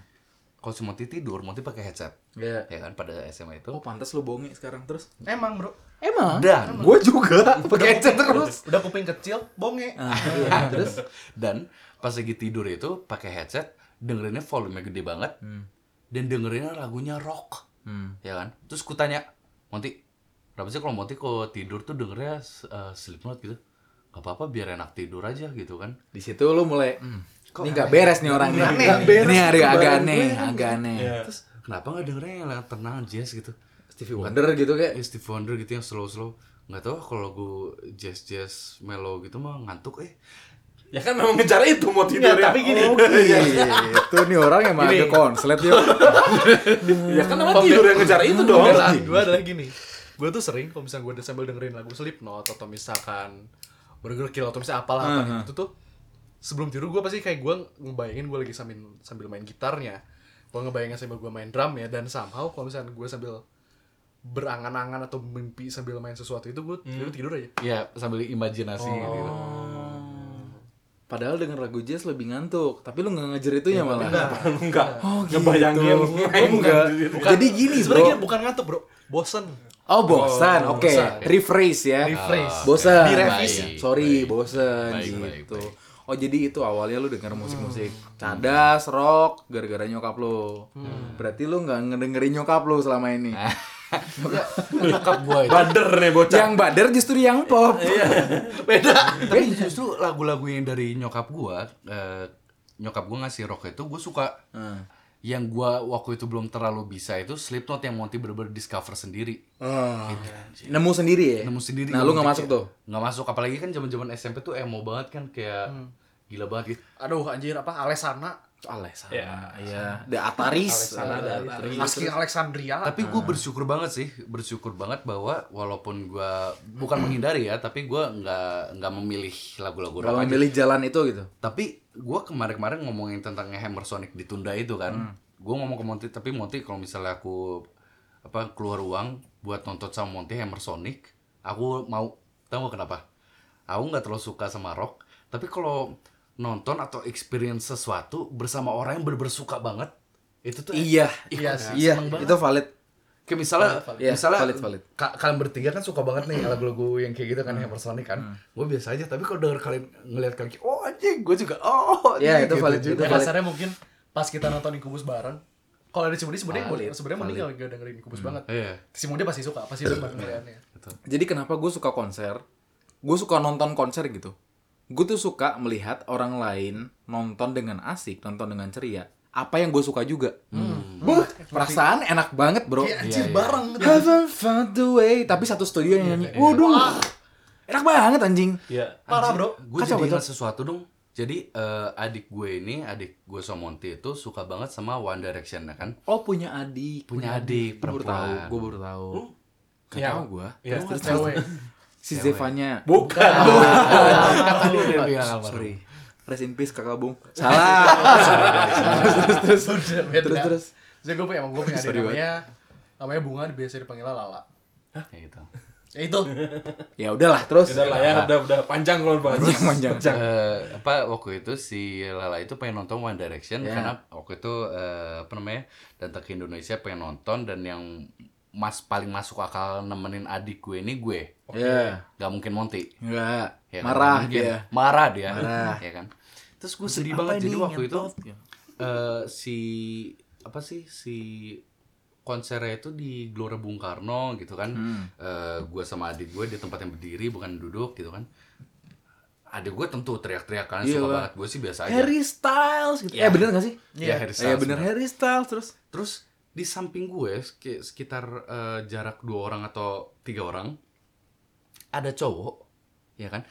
S6: kalau si Monty tidur Monty pakai headset
S2: Iya.
S6: ya kan pada SMA itu
S2: Oh, pantas lu bonge sekarang terus.
S3: Emang, Bro.
S2: Emang?
S6: Dan-
S2: gue juga pakai headset terus.
S3: Udah kuping kecil, bonge.
S2: Iya.
S6: terus dan pas lagi tidur itu pakai headset dengerinnya volume gede banget
S2: Hmm.
S6: dan dengerinnya lagunya rock ya kan terus ku tanya Monty kenapa sih kalau Monty kalau tidur tuh dengernya eh, Slipknot gitu gak apa-apa biar enak tidur aja gitu kan
S2: Di situ lu mulai "Hmm, ini nggak beres nih orangnya. Ini agak agak aneh, agak aneh.
S6: terus kenapa nggak dengernya yang lagu tenang jazz gitu
S2: Stevie Wonder gitu kayak.
S6: eh, Steve Wonder gitu yang slow slow nggak tahu ah, kalau lagu jazz jazz mellow gitu mah ngantuk eh
S5: Ya kan memang ngejar itu mau tidur ya.
S3: tapi gini.
S2: Iya. Itu nih orang emang agak konslet ya.
S5: Ya kan memang tidur yang ngejar itu dong.
S3: Enggak lah, gue adalah gini. Gue tuh sering kalau misalnya gue sambil dengerin lagu Slipknot atau misalkan Burger Kill atau misalnya apalah apa itu tuh sebelum tidur gue pasti kayak gue ngebayangin gue lagi sambil sambil main gitarnya. Gue ngebayangin sambil gue main drum ya dan somehow kalau misalnya gue sambil berangan-angan atau mimpi sambil Hmm. Iya, main sesuatu itu gue tidur aja.
S6: Oh. ya sambil imajinasi gitu
S2: Padahal denger lagu jazz lebih ngantuk, tapi lu nggak ngejar itu ya malah.
S5: enggak
S2: Oh, gitu.
S5: ngebayangin main kan enggak
S2: Jadi gini, bro.
S3: Sebenarnya gini, bukan ngantuk, Bro. Bosen.
S2: Oh, bosan.
S3: Oh,
S2: Oke,
S3: bosan.
S2: rephrase ya.
S3: Rephrase.
S2: Bosan.
S6: Direvisi.
S2: Baik, Sorry,
S6: baik.
S2: bosan
S6: Baik, baik,
S2: gitu.
S6: baik. Hmm.
S2: Oh, jadi itu awalnya lu denger musik-musik cadas, rock gara-gara nyokap lu.
S6: Hmm.
S2: Berarti lu nggak ngedengerin nyokap lu selama ini.
S6: Ah.
S3: Nyokap gua itu.
S5: bader nih bocah
S2: yang bader justru yang pop.
S6: Iya.
S2: Eh.
S6: tapi justru lagu-lagu yang dari nyokap gua eh, nyokap gua ngasih rock itu gua suka
S2: Ah.
S6: yang gua waktu itu belum terlalu bisa itu Slipknot yang Monty bener-bener discover sendiri
S2: Ah. Nemu sendiri ya?
S6: nemu sendiri
S2: Nah, lu nggak masuk tuh.
S6: nggak masuk apalagi kan zaman zaman SMP tuh emo banget kan kayak gila banget gitu
S3: Aduh, anjir apa Alessana?
S2: Alesana. Iya, iya. The Ataris. Ada Ataris.
S3: Aski Alexandria.
S6: tapi gue bersyukur banget sih bersyukur banget bahwa walaupun gua bukan menghindari ya tapi gua nggak nggak memilih lagu-lagu rock
S2: Kalau
S6: aja.
S2: milih jalan itu gitu.
S6: tapi gua kemarin-kemarin ngomongin tentang Hammer Sonic ditunda itu
S2: Hmm.
S6: kan Gua ngomong ke Monty tapi Monty kalau misalnya aku apa keluar uang buat nonton sama Monty Hammer Sonic aku mau tahu nggak kenapa aku nggak terlalu suka sama rock tapi kalau nonton atau experience sesuatu bersama orang yang bener-bener suka banget itu tuh
S2: Iya,
S6: iya
S2: iya, itu valid.
S6: kayak misalnya
S2: Iya,
S6: misalnya
S2: valid, valid.
S6: ka- kalian bertiga kan suka banget nih lagu-lagu yang kayak gitu kan
S2: Hmm.
S6: Hammer Sonic kan gue biasa aja tapi kalau denger kalian ngeliat kalian kayak, oh anjing gue juga oh
S2: Iya,
S6: anjing,"
S2: itu
S6: gitu
S2: valid,
S6: juga.
S2: itu
S3: Ya,
S2: valid.
S3: kasarnya mungkin pas kita nonton Incubus bareng. Kalau ada si Mudi sebenarnya
S6: Valid,
S3: sebenarnya
S6: valid.
S3: mending gak dengerin Incubus banget.
S6: Iya.
S3: Si Mudi pasti suka, pasti ya. demen kayaknya.
S2: Jadi kenapa gue suka konser? Gue suka nonton konser gitu. Gue tuh suka melihat orang lain nonton dengan asik, nonton dengan ceria. Apa yang gue suka juga. Buh, perasaan enak banget bro.
S3: Hmm. Iya, Anjir
S6: Iya,
S3: bareng. gitu.
S2: Haven't found the way. Tapi satu studio yang
S6: iya,
S2: nyanyi.
S3: Ah.
S2: Waduh, enak banget anjing.
S5: ya
S3: Parah, Bro.
S6: gue
S2: Kacau,
S6: jadi
S2: kacau.
S6: ingat sesuatu dong jadi eh, adik gue ini adik gue Somonti itu suka banget sama One Direction ya kan
S2: Oh punya adik,
S6: Punya adik,
S2: Gue baru tahu,
S6: perempuan.
S2: gue baru tahu. Gak
S5: Ya.
S2: tahu gue.
S5: ya terus
S3: Cewek.
S2: Si Zevanya.
S5: bukan
S2: Oh, sorry. Rest in peace kakak Bung. Salah.
S3: terus terus
S2: Terus, terus.
S3: Jadi gue punya emang gue punya adik
S2: Sorry banget.
S3: namanya namanya bunga biasa dipanggil Lala.
S6: ya gitu
S3: Ya itu.
S2: ya udahlah terus.
S5: udah lah ya udah udah panjang kalau bahas
S2: Panjang panjang.
S6: Eh, apa waktu itu si Lala itu pengen nonton One Direction
S2: Ya.
S6: karena waktu itu eh, apa namanya datang ke Indonesia pengen nonton dan yang mas paling masuk akal nemenin adik gue ini gue
S2: Ya.
S6: nggak mungkin Monty
S2: Enggak.
S6: Iya. Ya kan?
S2: Marah
S6: Nggak mungkin.
S2: dia.
S6: marah dia
S2: Marah.
S6: ya kan terus gue sedih banget jadi waktu itu eh, si apa sih si konsernya itu di Gelora Bung Karno gitu kan
S2: Hmm.
S6: Eh, gue sama adik gue di tempat yang berdiri bukan duduk gitu kan adik gue tentu teriak-teriak kan
S2: Iya
S6: suka
S2: lah.
S6: banget gue sih biasa aja
S2: Harry Styles gitu.
S6: Ya.
S2: Ya bener gak sih?
S6: Iya, Harry
S2: Ya
S6: Styles,
S2: bener
S6: bener.
S2: Harry Styles terus.
S6: terus di samping gue sek- sekitar eh, jarak dua orang atau tiga orang ada cowok ya kan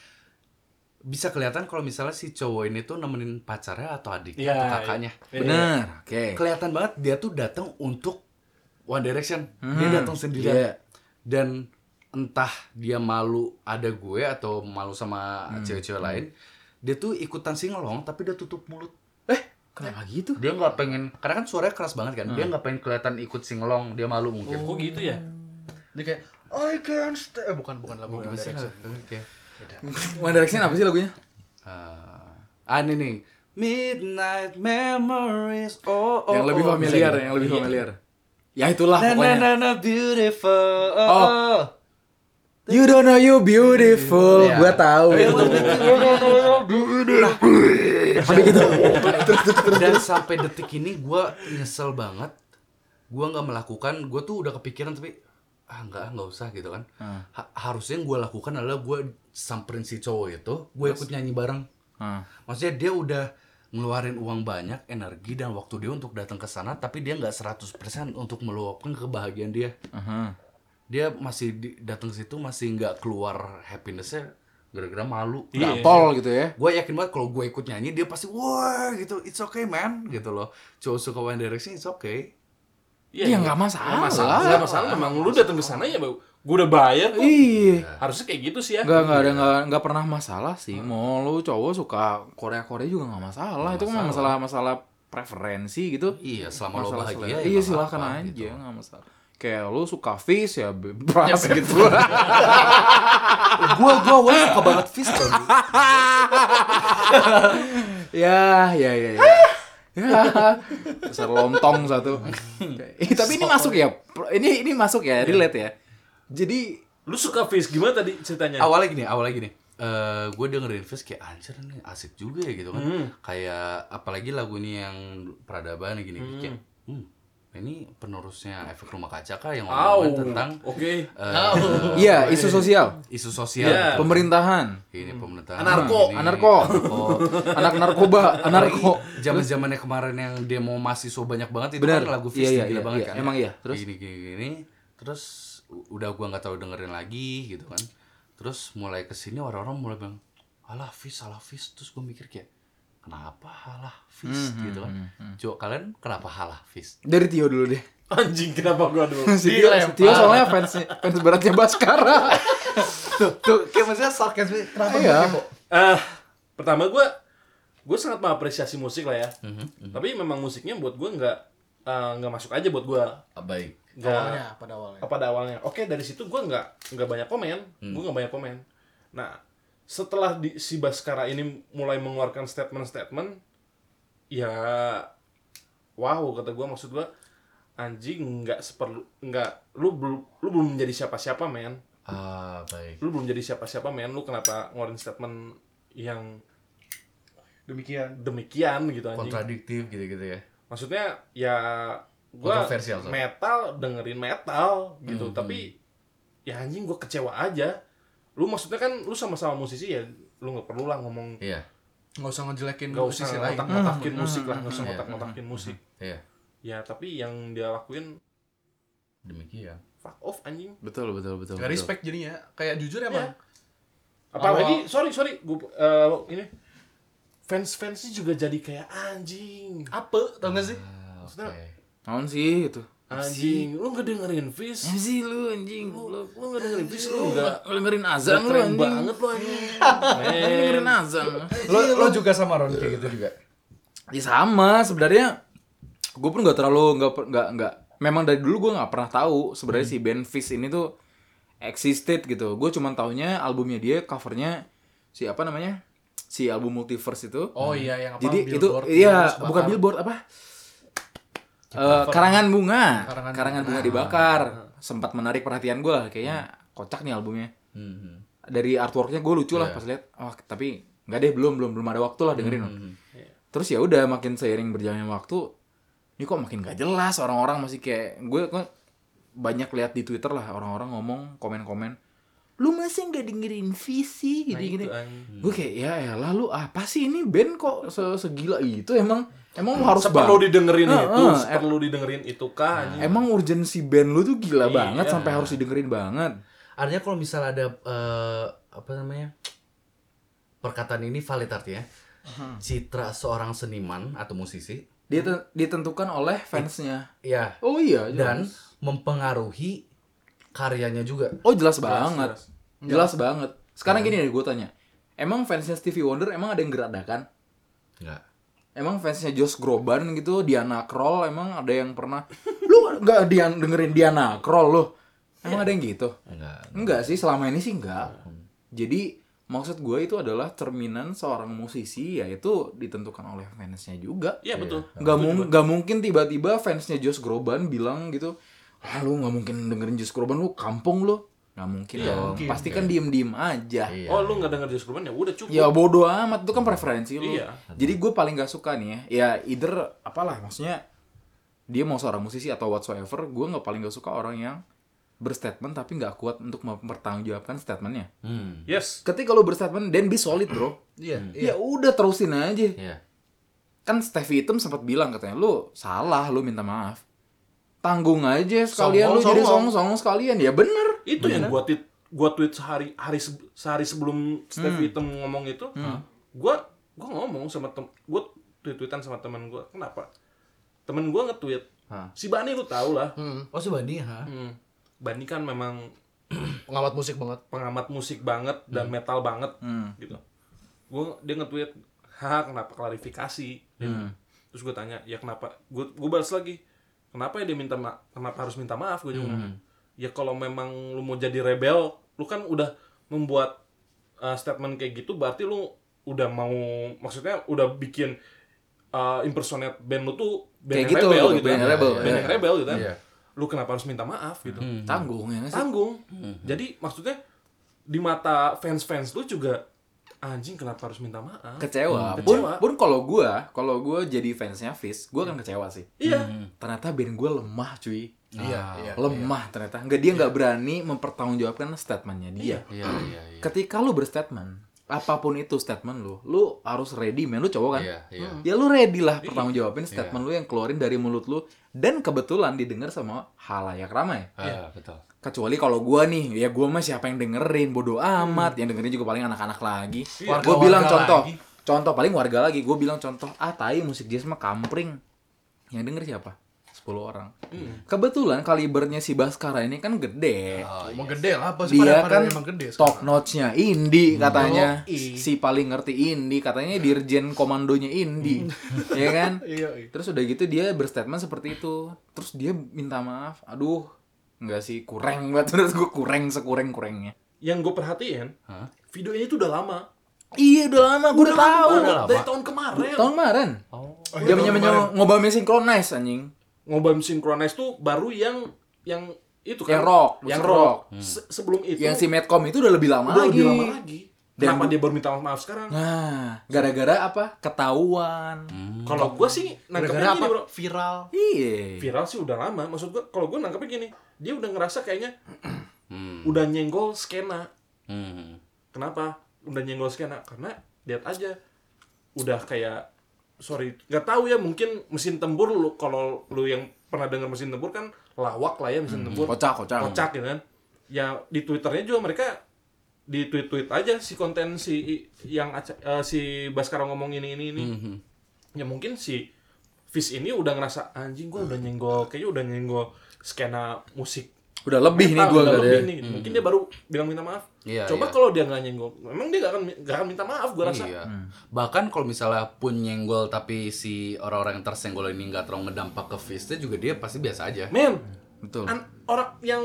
S6: bisa kelihatan kalau misalnya si cowok ini tuh nemenin pacarnya atau adiknya
S5: Iya,
S6: atau kakaknya
S2: Bener. Oke.
S6: kelihatan banget dia tuh datang untuk One Direction dia
S2: Hmm,
S6: datang sendirian
S2: iya.
S6: dan entah dia malu ada gue atau malu sama cewek-cewek lain dia tuh ikutan singelong tapi dia tutup mulut
S2: Kenapa gitu?
S6: Eh, dia nggak pengen karena kan suaranya keras banget kan dia nggak pengen kelihatan ikut singelong dia malu mungkin
S5: kok gitu ya
S3: Dia kayak I can stay. Eh bukan bukan lagu One Direction.
S6: Oke.
S2: One Direction apa sih lagunya?
S6: Ah, ah, ini nih Midnight Memories oh, oh
S2: yang lebih
S6: oh.
S2: familiar, yang lebih familiar. Ya itulah
S6: na na
S2: pokoknya.
S6: na na beautiful oh,
S2: Oh.
S6: oh.
S2: You don't know you beautiful.
S6: Iya.
S2: Gua tahu. Tapi gitu.
S6: dan sampai detik ini gue nyesel banget gue nggak melakukan gue tuh udah kepikiran tapi ah nggak nggak usah gitu kan
S2: Ah.
S6: Ha- harusnya yang gue lakukan adalah gue samperin si cowok itu gue ikut nyanyi bareng
S2: Ah.
S6: maksudnya dia udah ngeluarin uang banyak energi dan waktu dia untuk datang ke sana tapi dia nggak 100% untuk meluapkan kebahagiaan dia
S2: Aha.
S6: dia masih di- datang ke situ masih nggak keluar happinessnya gara-gara malu Nggak
S2: Gampol gitu ya.
S6: gue yakin banget kalau gue ikut nyanyi dia pasti wah gitu it's okay man gitu loh cowok suka One Direction it's okay
S2: Iya nggak masalah.
S5: Nggak masalah nggak masalah memang lu datang ke sana ya gue udah bayar kok
S2: Iya.
S5: harusnya kayak gitu sih ya
S2: Nggak nggak ada nggak nggak pernah masalah sih. Mau lu cowok suka Korea Korea juga nggak masalah. itu mah masalah masalah preferensi gitu.
S6: iya selama lo bahagia
S2: selera.
S6: ya
S2: iya
S6: nggak
S2: silahkan
S6: apa-apa,
S2: aja
S6: gitu.
S2: nggak masalah. kayak lu suka fish ya bebas gitu
S4: Gua gua gua suka banget fish tau.
S2: ya ya ya ya ya besar lontong satu Eh, tapi ini masuk ya Pro- ini ini masuk
S6: Iya.
S2: ya relate ya jadi
S5: Lu suka face gimana tadi ceritanya?
S6: awalnya gini awalnya gini eh gue dengerin Fizz kayak anjir nih asik juga ya gitu kan
S2: Hmm.
S6: kayak apalagi lagu ini yang peradaban gini kayak hmm, ini penerusnya efek rumah kaca kah yang
S5: Au.
S6: ngomongin tentang
S5: Oke.
S6: eh,
S2: iya isu sosial
S6: isu sosial
S5: Iya.
S6: gitu.
S2: pemerintahan
S6: ini pemerintahan
S5: Anarko.
S6: ini,
S2: Anarko.
S6: anarko.
S2: anak narkoba anarko
S6: zaman zamannya kemarin yang demo mahasiswa banyak banget itu
S2: Benar.
S6: kan lagu
S2: Iya,
S6: Fizz
S2: iya,
S6: gila
S2: iya,
S6: banget
S2: iya.
S6: kan
S2: Emang iya. Terus?
S6: gini gini gini terus u- udah gua nggak tahu dengerin lagi gitu kan terus mulai kesini orang-orang mulai bilang alah Fizz alah Fizz terus gua mikir kayak kenapa alah Fizz gitu kan Cuk, kalian kenapa alah Fizz
S2: dari Tio dulu deh
S5: Anjing kenapa gua dulu? Iya,
S2: si Tio, si Tio soalnya fans fans beratnya Baskara tuh, tuh
S4: Kayak maksudnya sarkas kenapa
S2: Iya.
S4: gitu, Bo?
S5: Eh, pertama gue gue sangat mengapresiasi musik lah ya. Tapi memang musiknya buat gue nggak eh, nggak masuk aja buat gue.
S6: baik
S5: Nggak
S4: pada awalnya.
S5: apa pada awalnya. Oke dari situ gue nggak nggak banyak komen.
S6: Hmm.
S5: Gue nggak banyak komen. Nah setelah di, si Baskara ini mulai mengeluarkan statement-statement, ya wow kata gue maksud gue anjing nggak seperlu nggak lu belum lu belum menjadi siapa-siapa men
S6: ah baik
S5: lu belum jadi siapa-siapa men lu kenapa ngeluarin statement yang
S4: Demikian.
S5: demikian gitu anjing.
S6: kontradiktif gitu-gitu ya
S5: Maksudnya ya gua
S6: Kontroversial, so.
S5: metal dengerin metal gitu, tapi ya anjing gua kecewa aja. Lu maksudnya kan lu sama-sama musisi ya, lu nggak perlu lah ngomong
S6: iya
S3: nggak usah ngejelekin
S5: nggak usah
S3: Iya, musisi lain Hmm,
S5: ngotak-ngotakin musik lah, nggak usah
S6: Iya.
S5: ngotak-ngotakin musik.
S6: iya
S5: Ya tapi yang dia lakuin
S6: demikian
S5: fuck off anjing.
S2: betul betul betul
S3: nggak respect jadinya kayak jujur ya,
S5: Iya.
S3: emang
S5: Apalagi sorry sorry gua eh, ini fans-fansnya juga jadi kayak anjing.
S3: apa tau gak sih
S6: Ah, oke
S5: Maksudnya-
S2: tahun sih gitu
S5: Anjing, lu nggak dengerin Fizz?
S2: sih lu anjing
S5: Lu lu nggak dengerin Fizz lu nggak
S2: lu dengerin azan
S5: Gak
S2: lu
S5: keren
S2: anjing
S5: banget lo anjing
S2: Lu dengerin azan
S3: lo lo juga sama Ron kayak gitu juga
S2: ya sama sebenarnya gue pun nggak terlalu nggak per- nggak nggak memang dari dulu gue nggak pernah tahu sebenarnya si band Fish ini tuh existed gitu gue cuman taunya albumnya dia covernya si apa namanya si album multiverse itu
S3: oh iya yang apa
S2: jadi itu
S3: billboard,
S2: iya
S3: terus
S2: bukan
S3: bakar.
S2: billboard apa Eh, karangan bunga
S3: Karangan
S2: karangan, bunga Ah. Hmm. dibakar sempat menarik perhatian gue lah kayaknya kocak nih albumnya
S6: Mhm.
S2: Hmm. dari artworknya gue lucu lah pas lihat oh tapi nggak deh belum belum belum ada waktu lah dengerin terus ya udah makin seiring berjalannya waktu ini kok makin gak jelas orang-orang masih kayak gue gue banyak lihat di twitter lah orang-orang ngomong komen-komen lu masih nggak dengerin visi gitu gitu gue kayak ya elah lu apa sih ini band kok se- segila itu emang emang lu harus
S5: Seperlu
S2: bang-
S5: didengerin
S2: Heeh, Nah,
S5: itu,
S2: em-
S5: seperlu didengerin itu kan. kah anjing?
S2: emang urgensi band lu tuh gila banget sampai harus didengerin banget
S6: Artinya kalau misalnya ada eh, apa namanya perkataan ini valid artinya citra seorang seniman atau musisi,
S2: Diten- ditentukan oleh fansnya
S6: ya
S2: oh iya
S6: dan
S2: jelas.
S6: mempengaruhi karyanya juga.
S2: Oh jelas banget. Jelas, banget.
S6: Kan.
S2: Sekarang gini deh gue tanya. Emang fansnya Stevie Wonder emang ada yang geradakan?
S6: Enggak.
S2: Emang fansnya Josh Groban gitu, Diana Kroll emang ada yang pernah lu nggak dia dengerin Diana Kroll lu? Emang ada yang gitu?
S6: Iya. Enggak. Hmm.
S2: Enggak sih, selama ini sih enggak. Jadi maksud gue itu adalah cerminan seorang musisi yaitu ditentukan oleh fansnya juga.
S5: Iya betul.
S2: Gak, mung- gak mungkin tiba-tiba fansnya Josh Groban bilang gitu ah lu gak mungkin dengerin Josh Groban lu kampung lu Gak mungkin dong pasti kan diem-diem aja
S6: Iya.
S5: Oh lu nggak denger Josh Groban ya udah cukup.
S2: ya bodoh amat itu kan preferensi lu
S5: Iya.
S2: jadi gue paling gak suka nih ya ya either apalah maksudnya dia mau seorang musisi atau whatsoever gue nggak paling gak suka orang yang berstatement tapi nggak kuat untuk mempertanggungjawabkan statementnya
S6: Hmm.
S5: Yes.
S2: ketika lu berstatement then be solid bro
S3: iya
S2: ya udah terusin aja
S6: Iya.
S2: kan Stevie Item sempat bilang katanya lu salah lu minta maaf tanggung aja sekalian lu
S5: Songong,
S2: jadi
S5: songong.
S2: songong songong sekalian ya bener
S5: Itu yang gua tweet gua tweet sehari hari se- sehari sebelum
S2: Hmm.
S5: Stevie Item ngomong itu, gua gua ngomong sama tem gua tweet-tweetan sama teman gua. Kenapa? Temen gua nge-tweet. Si Bani lu tau lah.
S6: Oh sebanding ha.
S5: Hmm. Bani kan memang
S3: pengamat musik banget
S5: pengamat musik banget dan
S2: Hmm.
S5: metal banget gitu gue dia nge-tweet
S2: Hmm.
S5: haha kenapa klarifikasi Dia bilang. terus gue tanya ya kenapa gue gue balas lagi kenapa ya dia minta ma- kenapa harus minta maaf gue juga
S2: Hmm.
S5: ngomong. ya kalau memang lu mau jadi rebel lu kan udah membuat uh, statement kayak gitu berarti lu udah mau maksudnya udah bikin uh, impersonate band lu tuh band
S2: Kayak
S5: yang
S2: gitu,
S5: rebel
S2: gitu,
S5: gitu
S2: band
S5: kan.
S2: yang rebel,
S5: Band
S2: iya.
S5: yang rebel gitu kan
S3: Iya.
S5: lu kenapa harus minta maaf gitu
S2: Tanggung ya nggak sih?
S5: tanggung. Jadi maksudnya di mata fans-fans lu juga anjing kenapa harus minta maaf?
S2: Kecewa.
S5: Hmm,
S2: Pun,
S5: kecewa.
S2: pun kalau gua, kalau gua jadi fansnya Fizz, gua akan kecewa sih.
S5: Iya.
S2: Ternyata band gua lemah cuy.
S3: Iya,
S2: Ah,
S3: iya,
S2: lemah ternyata. Nggak dia nggak berani mempertanggungjawabkan statementnya dia.
S6: Iya, iya, iya.
S2: Ketika lu berstatement, apapun itu statement lu, lu harus ready, men. Lu cowok kan?
S6: Iya, iya.
S2: Ya lu ready lah pertanggung jawabin statement lu yang keluarin dari mulut lu dan kebetulan didengar sama halayak ramai.
S6: Ah, betul.
S2: Kecuali kalau gua nih, ya gua mah siapa yang dengerin, bodoh amat. Yang dengerin juga paling anak-anak lagi.
S6: Iya,
S4: Warga-warga
S2: Gua bilang contoh,
S4: lagi.
S2: contoh paling warga lagi. Gua bilang contoh, ah tai musik jazz mah kampring. Yang denger siapa? 10 orang.
S6: Hmm.
S2: Kebetulan kalibernya si Baskara ini kan gede
S6: Oh,
S3: Emang
S6: iya
S3: gede lah apa sih
S2: dia
S3: padahal-
S2: kan
S3: Oh, padahal emang gede
S2: top
S3: sekarang.
S2: notch-nya indie katanya si paling ngerti indie katanya dirjen komandonya indie ya kan
S3: Iya, iya.
S2: terus udah gitu dia berstatement seperti itu terus dia minta maaf aduh nggak sih kurang banget terus gue kurang sekurang kurangnya
S5: Yang gue perhatiin, video ini tuh udah lama.
S2: iya udah lama gue Oh, udah tahu
S5: Udah Dari tahun kemarin.
S2: tahun kemarin zamannya oh, ngobamnya sinkronize anjing
S5: Ngobam Synchronize tuh baru yang yang itu kan
S2: Yang rock,
S5: yang
S2: musik
S5: rock.
S2: rock. Hmm.
S5: Se- sebelum itu
S2: yang si Medcom itu udah lebih lama
S5: udah
S2: lagi
S5: lebih lama lagi.
S2: Dan
S5: Kenapa
S2: gua-
S5: dia baru minta maaf sekarang?
S2: nah gara-gara apa ketahuan
S5: Kalau gue sih
S4: Gara-gara
S5: nangkepnya
S4: apa?
S5: gini, bro.
S4: Viral.
S2: iya
S5: Viral sih udah lama. Maksud gue, kalau gue nangkepnya gini, dia udah ngerasa kayaknya udah nyenggol skena.
S6: Hmm.
S5: Kenapa? Udah nyenggol skena karena lihat aja udah kayak sorry nggak tahu ya mungkin mesin tempur lu kalau lu yang pernah dengar mesin tempur kan lawak lah ya mesin tempur
S2: kocak kocak
S5: kocak gitu kan ya di twitternya juga mereka di tweet tweet aja si konten si yang aca- eh, si Baskara ngomong ini ini ini ya mungkin si Fish ini udah ngerasa anjing gua udah nyenggol kayaknya udah nyenggol skena musik
S2: udah lebih nih
S5: metal,
S2: gue
S5: udah
S2: kali
S5: lebih
S2: ya
S5: nih. mungkin dia baru bilang minta maaf
S6: Iya,
S5: coba
S6: iya.
S5: kalau dia nggak nyenggol memang dia gak akan gak akan minta maaf gua rasa
S6: Iya. Bahkan kalau misalnya pun nyenggol tapi si orang-orang yang tersenggol ini nggak terlalu ngedampak ke face juga dia pasti biasa aja.
S5: men
S2: betul
S5: An- orang yang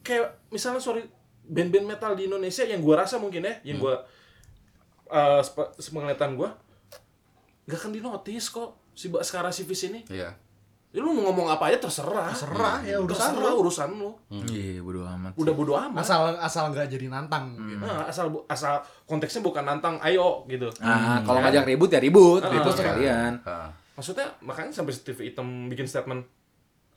S5: kayak misalnya sorry band-band metal di Indonesia yang gua rasa mungkin ya yang gua eh sepe- sepenglihatan gua gak akan dinotis kok si Baskara si Fis ini
S6: Iya.
S5: ya, lu mau ngomong apa aja terserah terserah ya urusan lu urusan lu
S2: Iya, bodo amat.
S5: udah bodo amat
S3: Asal asal nggak jadi nantang
S6: Hmm.
S3: gitu.
S5: Nah, asal bu- asal konteksnya bukan nantang ayo gitu
S2: Ah, kalau ngajak ribut ya ribut, ribut
S6: Iya.
S2: sekalian.
S6: Ah.
S5: maksudnya makanya sampai Steve Item bikin statement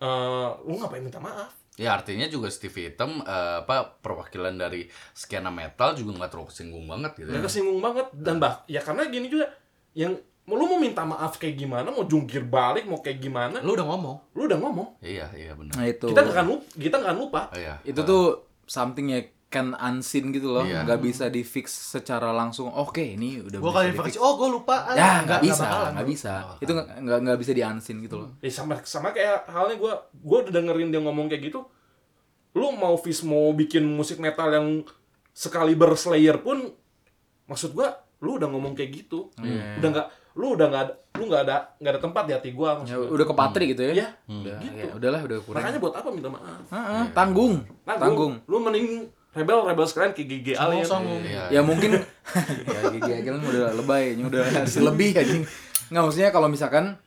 S5: eh lu ngapain minta maaf
S6: Ya artinya juga Steve Item eh, apa perwakilan dari skena metal juga nggak terlalu kesinggung banget gitu ya.
S5: Gak kesinggung banget dan bah ya karena gini juga yang lu mau minta maaf kayak gimana mau jungkir balik mau kayak gimana
S3: Lu udah ngomong.
S5: lu udah ngomong
S6: Iya iya benar.
S2: Nah, itu.
S5: kita gak akan lupa kita gak akan lupa
S6: Iya.
S2: Itu tuh something ya can unseen gitu loh,
S6: Iya.
S2: nggak bisa di fix secara langsung. Oke, ini udah
S4: Gua
S2: bisa
S4: kali
S2: di-fix.
S4: informasi, oh gua lupa. Ah,
S2: Ya, nggak Oh, iya. bisa,
S4: bakalan.
S2: nggak bisa. Itu nggak- nggak nggak bisa di unseen gitu loh.
S5: Eh, sama sama kayak halnya gue gue udah dengerin dia ngomong kayak gitu lu mau Fis mau bikin musik metal yang sekali berslayer pun maksud gue lu udah ngomong kayak gitu
S2: Oh, iya.
S5: udah nggak lu udah nggak ada- lu nggak ada nggak ada tempat di hati gue
S2: Ya, udah ke Patri gitu ya.
S5: Iya,
S2: Udah,
S5: gitu.
S2: ya, udahlah udah kurang.
S5: makanya buat apa minta maaf
S2: Ah, ah, tanggung.
S5: Nah,
S2: Tanggung.
S5: lu, lu mending rebel rebel sekalian kayak GG Alien
S2: ya
S6: Iya.
S2: mungkin ya gigi akhirnya udah lebay ini udah harus lebih anjing nggak maksudnya kalau misalkan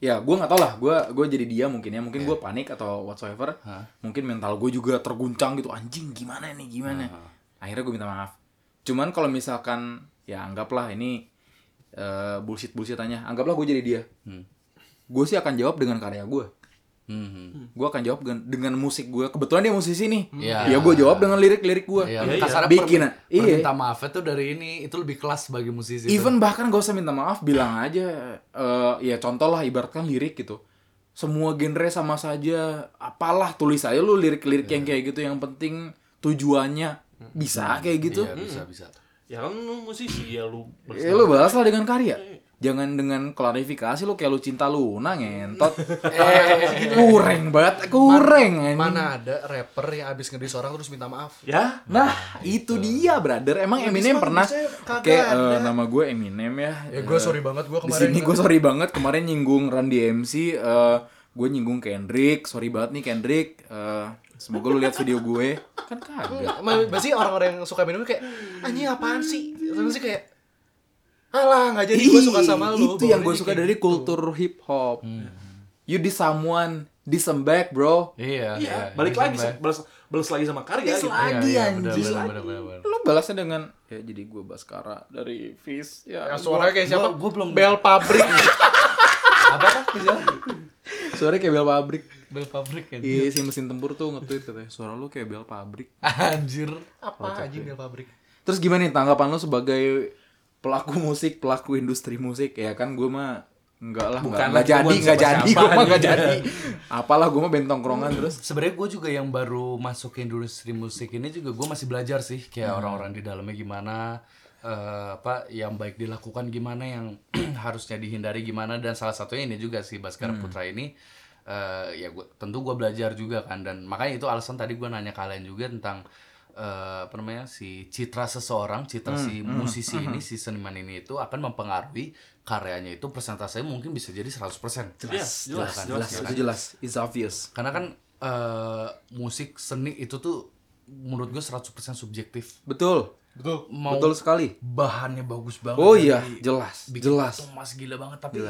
S2: ya gue nggak tau lah gue gue jadi dia mungkin ya mungkin gue panik atau whatsoever mungkin mental gue juga terguncang gitu anjing gimana nih gimana akhirnya gue minta maaf cuman kalau misalkan ya anggaplah ini bullshit bullshit tanya anggaplah gue jadi dia gue sih akan jawab dengan karya gue Hmm,
S6: Mhm.
S2: gue akan jawab dengan, dengan musik gue kebetulan dia musisi nih
S6: Iya.
S2: ya gue jawab dengan lirik-lirik gue
S6: Iya,
S5: iya.
S6: kasarnya
S2: Bikin,
S6: permin-
S2: iya.
S6: perminta maafnya tuh dari ini itu lebih kelas bagi musisi.
S3: Gitu.
S6: tuh.
S2: Even bahkan gak usah minta maaf, bilang aja eh, ya contoh lah ibaratkan lirik gitu. Semua genre sama saja, apalah tulis aja lu lirik-lirik
S3: Iya.
S2: yang kayak gitu yang penting tujuannya bisa
S3: Hmm.
S2: kayak gitu.
S6: Iya, bisa bisa.
S5: ya kan lu musisi ya lu
S2: Ya lu bahas lah dengan karya.
S3: Iya,
S2: Jangan dengan klarifikasi lu kayak lu cinta Luna ngentot. eh, kureng banget, kureng anjing.
S3: iya, Mana ada rapper yang abis ngedis orang terus minta maaf?
S5: ya
S2: Nah, itu
S3: Gitu.
S2: dia, brother. Emang Eminem
S3: bisa,
S2: pernah
S3: bisa, kagak
S2: kayak eh,
S3: ada.
S2: nama gue Eminem ya.
S3: Ya
S6: Iya.
S3: gue sorry banget
S2: di
S3: gue kemarin.
S2: sini gue sorry banget kemarin nyinggung Run DMC eh gue nyinggung Kendrick sorry banget nih Kendrick Eh, semoga lu lihat video gue kan kagak
S3: Pasti orang-orang yang suka minum kayak anjing apaan sih? Terus sih kayak Alah, nggak jadi gue suka sama lu.
S2: itu yang gue
S3: Bawaannya
S2: suka
S3: kayak
S2: dari
S3: gitu.
S2: kultur hip hop you diss someone diss them back bro
S6: Hmm. Iya,
S5: Iya, balik lagi
S6: Iya,
S5: balas balas lagi sama karya gitu.
S6: iya, bener, bener, bener, bener, bener.
S2: lu balasnya dengan ya jadi gue Baskara dari Fis ya
S3: Ya, suaranya kayak siapa?
S6: Gua- gua belum-
S3: Bel pabrik.
S6: Apa kan?
S2: suaranya kayak bel pabrik
S6: Bel pabrik kan?
S2: Iya si mesin tempur tuh nge-tweet katanya suara lu kayak bel pabrik.
S6: Anjir. ya.
S3: Apa anjing bel pabrik?
S2: Terus gimana nih tanggapan lu sebagai pelaku musik, pelaku industri musik? Ya kan gue mah enggak lah, enggak, enggak jadi, enggak jadi, gue mah enggak jadi. Apalah gue mah bentong kerongan terus.
S6: Sebenarnya gue juga yang baru masuk ke industri musik ini juga gue masih belajar sih kayak orang-orang di dalamnya gimana eh, apa yang baik dilakukan gimana yang harusnya dihindari gimana dan salah satunya ini juga sih Baskara Putra ini eh, ya gua, tentu gue belajar juga kan dan makanya itu alasan tadi gue nanya kalian juga tentang eh, apa namanya si citra seseorang citra si musisi ini si seniman ini itu akan mempengaruhi karyanya itu persentasenya mungkin bisa jadi 100%
S5: Jelas, jelas,
S6: Silakan.
S5: jelas.
S2: Jelas, itu jelas, it's obvious.
S6: karena kan eh, musik seni itu tuh menurut gue 100% subjektif
S2: Betul,
S3: Betul.
S6: mau
S2: betul sekali.
S6: bahannya bagus banget
S2: Oh iya,
S6: dari-
S2: jelas,
S6: bikin
S2: jelas,
S6: Thomas gila banget tapi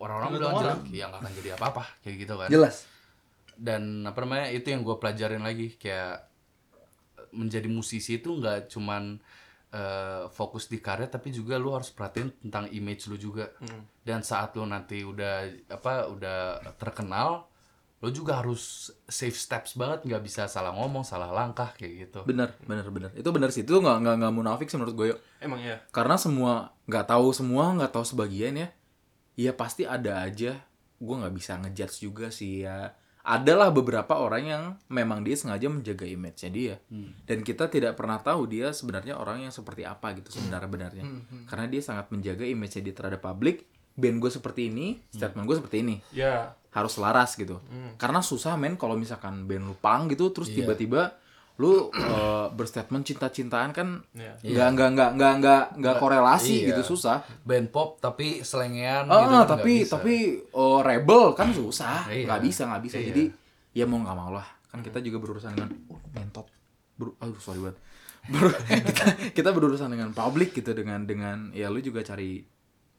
S6: orang-orang bilang jelek ya nggak akan jadi apa-apa kayak gitu kan
S2: jelas.
S6: dan apa namanya itu yang gue pelajarin lagi kayak eh, menjadi musisi itu nggak cuman eh, fokus di karya tapi juga lu harus perhatiin tentang image lu juga
S2: Hmm.
S6: dan saat lu nanti udah apa udah terkenal lu juga harus safe steps banget nggak bisa salah ngomong salah langkah kayak gitu
S2: Bener, bener, bener. Itu bener sih, itu nggak nggak nggak munafik sih menurut gue. Yuk.
S5: Emang ya.
S2: karena semua nggak tahu semua nggak tahu sebagian ya ya pasti ada aja gue nggak bisa ngejudge juga sih ya adalah beberapa orang yang memang dia sengaja menjaga image-nya dia dan kita tidak pernah tahu dia sebenarnya orang yang seperti apa gitu sebenarnya benarnya karena dia sangat menjaga image-nya dia terhadap publik band gue seperti ini statement gue seperti ini
S5: Ya,
S2: harus laras gitu.
S6: Hmm.
S2: Karena susah men kalau misalkan band lu pang gitu terus
S6: Iya.
S2: tiba-tiba lu eh, berstatement cinta-cintaan kan
S5: Iya.
S2: nggak nggak nggak nggak nggak nggak korelasi gitu susah.
S6: band pop tapi selengean
S2: Ah,
S6: kan iya. nggak
S2: tapi
S6: bisa.
S2: tapi eh, rebel kan susah.
S6: Iya. Hmm.
S2: Nggak bisa nggak bisa. Jadi ya mau nggak mau lah. Kan kita juga berurusan dengan oh, mentot. Ber- aduh sorry banget. Ber- kita, kita berurusan dengan publik gitu dengan dengan ya lu juga cari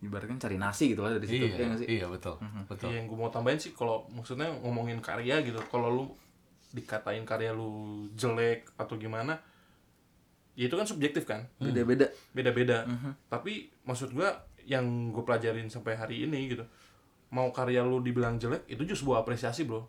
S2: ibaratkan cari nasi gitu lah dari situ.
S6: iya
S2: ya nggak sih?
S6: iya betul betul
S5: Iya, yang gue mau tambahin sih kalau maksudnya ngomongin karya gitu, kalau lu dikatain karya lu jelek atau gimana, ya itu kan subjektif kan,
S2: Beda-beda.
S5: beda-beda. Tapi maksud gua yang gue pelajarin sampai hari ini gitu, mau karya lu dibilang jelek itu justru sebuah apresiasi bro.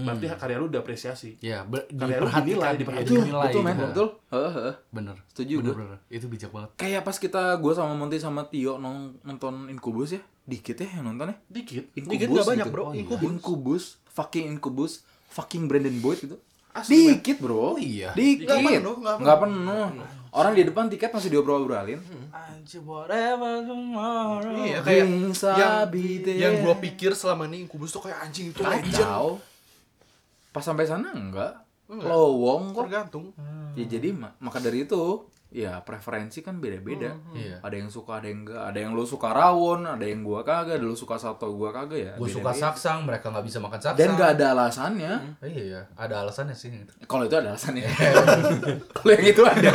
S5: Berarti karya lu diapresiasi.
S6: ya ber-
S5: Karya lu dinilai,
S6: diperhatikan
S5: diperhatikan.
S6: diperhatikan nilai
S2: Betul men,
S6: gitu.
S2: betul. Heeh, heeh.
S6: bener
S2: Setuju
S6: bener,
S2: gua.
S6: bener. itu bijak banget
S2: Kayak pas kita gue sama Monty sama Tio nong- nonton Incubus ya, dikit ya yang nontonnya.
S5: Dikit.
S2: Incubus
S3: Dikit nggak banyak, bro.
S2: Oh, iya.
S3: Incubus.
S2: Incubus, fucking Incubus, fucking Brandon Boyd gitu.
S5: Asli,
S2: dikit bro.
S6: iya.
S2: Dikit.
S3: Oh, Nggak penuh, nggak penuh.
S2: Nggak penuh. Orang di depan tiket masih diobrol-obrolin.
S3: Hmm. Iya kayak
S2: Wings
S3: yang
S2: are be there.
S3: yang gua pikir selama ini Incubus tuh kayak anjing itu legend.
S2: Kacau. Pas sampai sana enggak.
S3: Hmm.
S2: Lowong kok.
S3: Tergantung.
S2: Ya jadi ma- maka dari itu ya preferensi kan beda-beda.
S3: Hmm.
S6: Iya.
S2: Ada yang suka, ada yang enggak. Ada yang lu suka rawon, ada yang gua kagak, ada lu suka soto, gua kagak ya.
S6: gue suka
S2: beda-beda.
S6: saksang mereka nggak bisa makan saksang
S2: Dan enggak ada alasannya.
S6: iya ada alasannya sih Iya.
S2: Kalau itu ada alasannya. kalau yang itu ada.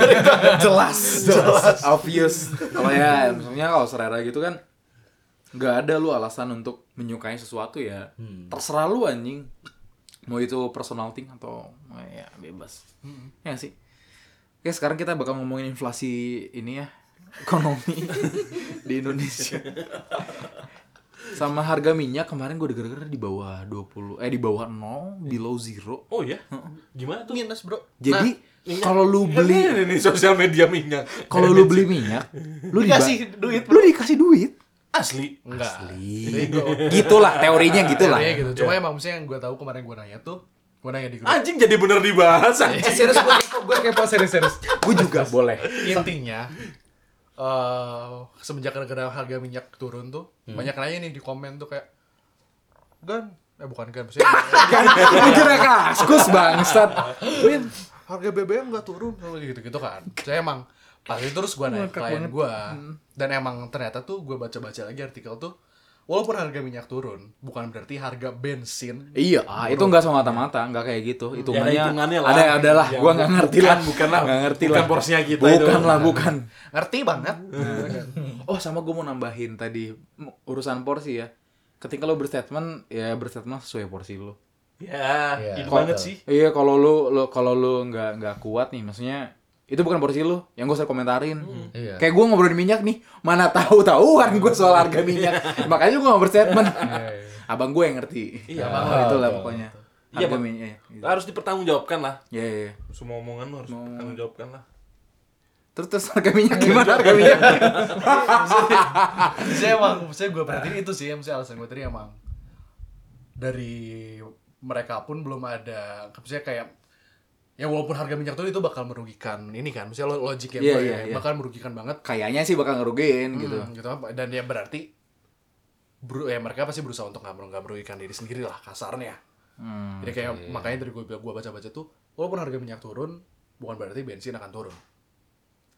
S2: jelas, jelas, obvious. Kalau ya maksudnya kalau selera gitu kan nggak ada lu alasan untuk menyukai sesuatu ya.
S6: Hmm.
S2: Terserah lu anjing. Mau itu personal thing atau eh, ya bebas.
S6: Hmm.
S2: Ya nggak sih. Oke, sekarang kita bakal ngomongin inflasi ini ya, ekonomi di Indonesia. Sama harga minyak kemarin gue denger-denger di bawah 20 eh di bawah 0, below zero.
S5: Oh ya, gimana tuh? Kan
S3: Minus, Bro.
S2: Jadi
S3: Nah,
S2: kalau lu beli
S5: ini sosial media minyak.
S2: kalau lu beli minyak, lu diba-
S3: Dikasih duit,
S2: Lu dikasih duit.
S5: Asli.
S3: Enggak.
S2: Li.
S5: Iya.
S2: Gitulah teorinya gitulah.
S3: Iya gitu. Cuma emang maksudnya yang gua tahu kemarin gua nanya tuh, gua nanya di grup.
S5: Anjing jadi bener dibahas.
S3: Eh, serius gua kepo, gua kepo serius-serius.
S2: Gue juga boleh.
S3: Intinya eh semenjak gara-gara harga minyak turun tuh, banyak nanya nih di komen tuh kayak Gan, eh bukan Gan, maksudnya
S2: Kan mikirnya kaskus bangsat.
S3: Win, harga BBM nggak turun sama gitu-gitu kan. Saya emang pasti terus gua nanya klien gua dan emang ternyata tuh gua baca-baca lagi artikel tuh walaupun harga minyak turun, bukan berarti harga bensin
S2: Iya, ah, itu nggak sama mata-mata, nggak kayak gitu. Hitungannya,
S5: Ya, hitungannya lah.
S2: ada adalah,
S5: Ya,
S2: gua nggak ngerti lah, bukan lah, nggak ngerti
S5: bukan
S2: lah.
S5: porsinya kita
S2: bukan
S5: itu. Nah.
S2: lah, bukan.
S3: ngerti banget.
S2: Oh, sama gua mau nambahin tadi m- urusan porsi ya. Ketika lo berstatement, ya berstatement sesuai porsi lo.
S5: Ya,
S4: Iya,
S5: itu banget
S4: betul.
S5: sih.
S2: Iya, kalau lo, lo kalau lo nggak nggak kuat nih, maksudnya itu bukan porsi lo, yang gue usah komentarin.
S4: Iya.
S2: Kayak gua ngobrolin minyak nih, mana tahu tahuan gue soal harga minyak, makanya gua nggak berstatement. Abang gue yang ngerti.
S5: Iya,
S2: Abang
S4: betul,
S2: itulah
S4: betul,
S2: pokoknya.
S5: Iya,
S2: Harga
S5: Bang.
S2: minyak. iya.
S5: Harus dipertanggungjawabkan lah.
S2: Iya, iya. iya.
S5: Semua omongan lu harus dipertanggungjawabkan lah.
S2: Terus terus harga minyak gimana harga minyak?
S3: saya emang, saya gue perhatiin itu sih, saya alasan gue tadi emang dari mereka pun belum ada, maksudnya kayak ya walaupun harga minyak turun itu bakal merugikan ini kan, misalnya logiknya
S2: Iya,
S3: gua
S2: iya,
S3: ya,
S2: iya.
S3: bakal merugikan banget
S2: Kayaknya sih bakal ngerugiin gitu.
S3: Hmm, gitu apa dan ya berarti bro ya mereka pasti berusaha untuk nggak nggak merugikan diri sendiri lah kasarnya
S2: Hmm,
S3: jadi kayak
S2: iya.
S3: makanya dari gue gue baca baca tuh walaupun harga minyak turun bukan berarti bensin akan turun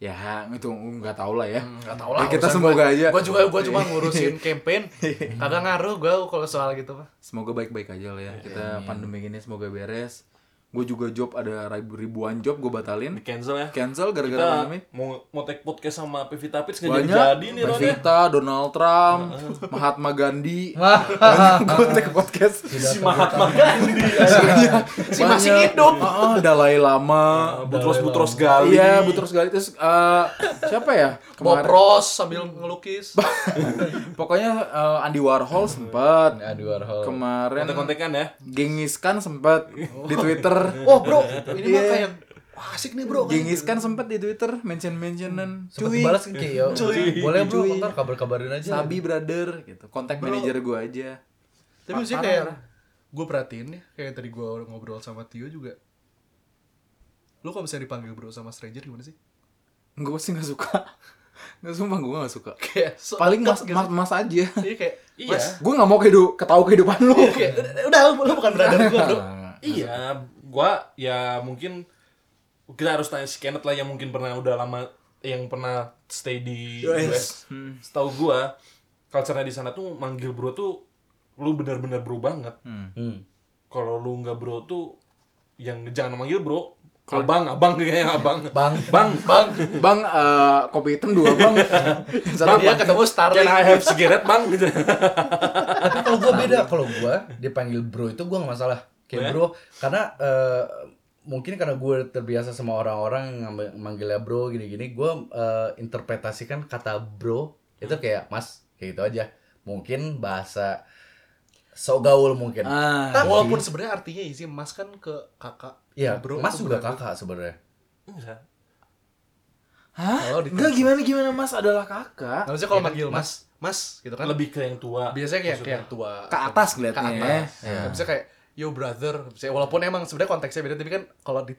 S2: Ya itu nggak tahu lah ya.
S3: nggak tahu lah
S2: Ya, kita semoga aja.
S3: gue juga gue
S2: Iya.
S3: cuma ngurusin campaign kagak ngaruh gue kalau soal gitu mah
S2: Semoga baik-baik aja lah ya. Kita pandemi ini semoga beres. Gue juga job ada ribu- ribuan job gue batalin.
S5: Di cancel ya.
S2: Cancel
S5: Kita
S2: gara-gara pandemi.
S5: mau mau take podcast sama Pevita Pits nggak jadi
S2: Banyak.
S5: jadi nih Ron ya.
S2: Evita, Donald Trump, Mahatma Gandhi. gue take podcast.
S5: Si Mahatma Gandhi.
S2: Si masih hidup. Dalai Lama.
S5: Butros Butros Gali.
S2: Iya, Butros Gali. Terus eh, siapa ya?
S3: mau pros sambil ngelukis
S2: Pokoknya eh, Andy Warhol sempet
S4: Andy Warhol.
S2: kemarin
S5: Kontek-kontekan ya.
S2: Genghis Khan sempet di Twitter.
S3: oh bro ini mah
S2: Iya.
S3: kayak wah, asik nih bro
S2: Genghis Khan sempet di Twitter mention-mentionan. Cuy,
S4: Sempet dibalas ke Kyo. Boleh bro,
S2: Cuy.
S4: ntar kabar-kabarin aja.
S2: Sabi brother gitu. Kontak manajer gua aja.
S3: tapi sih
S2: Parah,
S3: kayak
S2: parah.
S3: gue perhatiin ya kayak tadi gue ngobrol sama Tio juga lu kalau misalnya dipanggil bro sama stranger gimana sih
S2: Gue sih gak suka. Gak sumpah gue gak suka.
S3: kayak so-
S2: Paling mas,
S3: gitu.
S2: mas, mas aja.
S3: Iya kayak
S5: Iya.
S2: Gue gak mau kehidup, ketahu kehidupan lu.
S3: kayak, udah lu, lu bukan brother gue bro.
S5: Iya, gua ya mungkin kita harus tanya si Kenneth lah yang mungkin pernah udah lama yang pernah stay di US. Setahu gua culture-nya di sana tuh manggil bro tuh lu benar-benar bro banget.
S4: Hmm.
S5: Kalau lu nggak bro tuh yang jangan manggil bro. abang, abang kayaknya abang.
S4: Bang.
S5: Bang, bang.
S2: Bang, eh, kopi hitam dua bang. Satu
S3: Dia
S2: bang.
S3: ketemu
S5: Can
S3: Starling.
S5: I have cigarette, bang? Gitu.
S4: Tapi kalau gue beda, kalau gue dipanggil bro itu gue nggak masalah. Kayak bro, karena eh, mungkin karena gue terbiasa sama orang-orang yang ngam- manggilnya bro gini-gini, gue eh, interpretasikan kata bro itu kayak mas, kayak gitu aja. Mungkin bahasa so gaul mungkin.
S2: Ah,
S3: Tapi Walaupun sebenarnya artinya isi mas kan ke kakak.
S4: Iya,
S3: Bro,
S4: mas
S3: itu
S4: juga
S3: brother.
S4: kakak sebenarnya.
S5: Enggak.
S2: Hah?
S3: Kalau di-
S2: Enggak gimana gimana Mas adalah kakak.
S3: Nah, maksudnya kalau manggil mas, mas gitu kan.
S5: Lebih ke yang tua.
S3: biasanya kayak
S5: Maksudnya.
S3: kayak tua.
S2: Ke atas
S3: Ke
S2: kelihatannya.
S4: Iya.
S3: atas.
S2: ya.
S3: Kayak Misalnya kayak yo brother, Misalnya, walaupun emang sebenarnya konteksnya beda tapi kan kalau di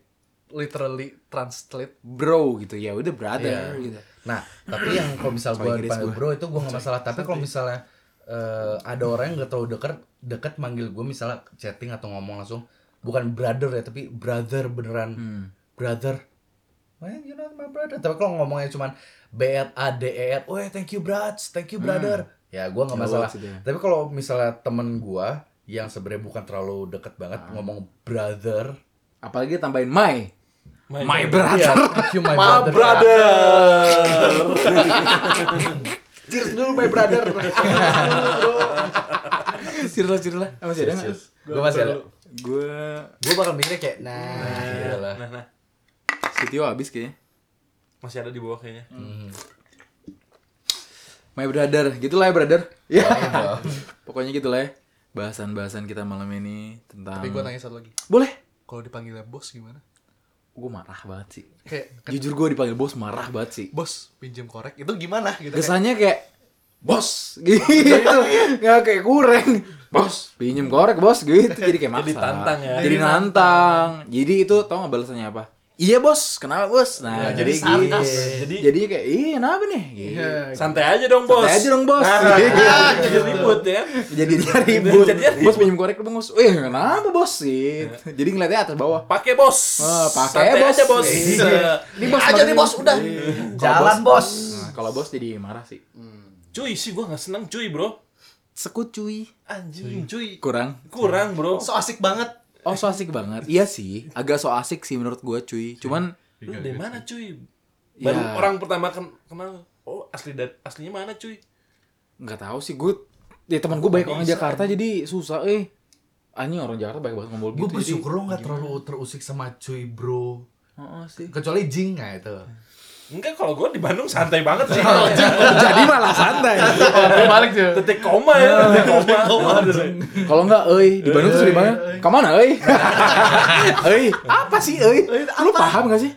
S3: literally translate
S2: Bro gitu ya, udah brother
S4: Iya.
S2: gitu.
S4: Nah, tapi yang kalau misal
S2: Sorry,
S4: gue
S2: Grace, gua.
S4: dipanggil Gitu, bro itu gue gak masalah.
S2: ya.
S4: Tapi kalau misalnya eh, ada orang yang gak terlalu deket, deket manggil gue misalnya chatting atau ngomong langsung. Bukan brother ya, tapi brother beneran.
S2: Hmm.
S4: Brother. Well, you know my brother. Tapi kalau ngomongnya cuman B A D E R, "Weh, thank you brats, thank you brother. Ya gue
S2: Ya,
S4: gak masalah.
S2: maksudnya.
S4: Tapi kalau misalnya temen gue yang sebenarnya bukan terlalu deket banget
S2: Ah.
S4: ngomong brother.
S2: Apalagi tambahin my. My, brother.
S4: Iya, thank you my
S5: My
S4: brother.
S5: brother.
S2: Cheers dulu my brother. cheers lah, cheers lah. Eh, Masih ada nggak?
S4: Gue masih ada.
S2: Gue
S4: Gue bakal mikirnya kayak nah, iyalah.
S5: Nah, nah.
S2: Sitio habis kayaknya.
S5: Masih ada di bawah kayaknya.
S2: My brother, gitu lah ya brother. Ya. Pokoknya gitu lah ya. Bahasan-bahasan kita malam ini tentang
S3: tapi gue tanya satu lagi.
S2: Boleh.
S3: Kalau dipanggilnya bos gimana?
S2: Gue marah banget sih.
S3: Kayak kan,
S2: Jujur gue dipanggil bos marah banget sih.
S3: bos pinjam korek itu gimana gitu kayak,
S2: Kesannya kayak bos gitu. Nggak kayak kurang. Bos, pinjem korek bos gitu. Jadi kayak maksa.
S5: Jadi tantang ya.
S2: Jadi nantang. Jadi itu tau nggak balasannya apa? Iya bos, kenapa bos? Nah, jadi gitu. Jadi
S5: Jadi-
S2: jadi kayak, iya kenapa nih? Gitu.
S5: Santai aja dong, bos.
S2: Santai aja dong, bos.
S5: Nah, jadi ribut ya.
S2: jadi dia ribut.
S5: Jadi dia
S2: Bos pinjem korek dong bos. Eh kenapa bos sih? Jadi ngeliatnya atas bawah.
S5: Pakai bos.
S2: Ah, pakai
S5: Santai
S2: bos.
S5: aja, bos.
S2: Iya.
S5: Eh,
S2: Ini bos aja nih bos udah.
S4: Jalan bos.
S2: Nah, kalau bos jadi marah sih.
S5: Cuy sih gua nggak seneng cuy, Bro.
S2: sekucuy
S5: Anjing,
S2: Iya.
S5: cuy.
S2: kurang
S5: Kurang,
S2: Iya.
S5: Bro.
S3: So asik banget.
S2: oh so asik banget iya sih agak so asik sih menurut gue cuy cuman
S5: Lu dari mana,
S2: Iya.
S5: cuy? Baru
S2: Ya.
S5: orang pertama ken- kenal. Oh, asli dat- aslinya mana, cuy?
S2: nggak tahu sih gue ya teman gue banyak orang Jakarta jadi susah eh anjing orang Jakarta banyak banget ngomong gitu
S4: Gue
S2: jadi-
S4: bersyukur lo gak terlalu terusik sama cuy bro
S2: Heeh sih
S4: Kecuali Jing nggak itu
S5: Enggak, kalau gue di Bandung santai banget sih.
S2: jadi malah santai
S4: Balik
S2: iya.
S4: cuy
S5: Titik koma ya, titik koma.
S2: kalau nggak euy di Bandung tuh sering banget kamana euy euy apa sih euy lu paham nggak sih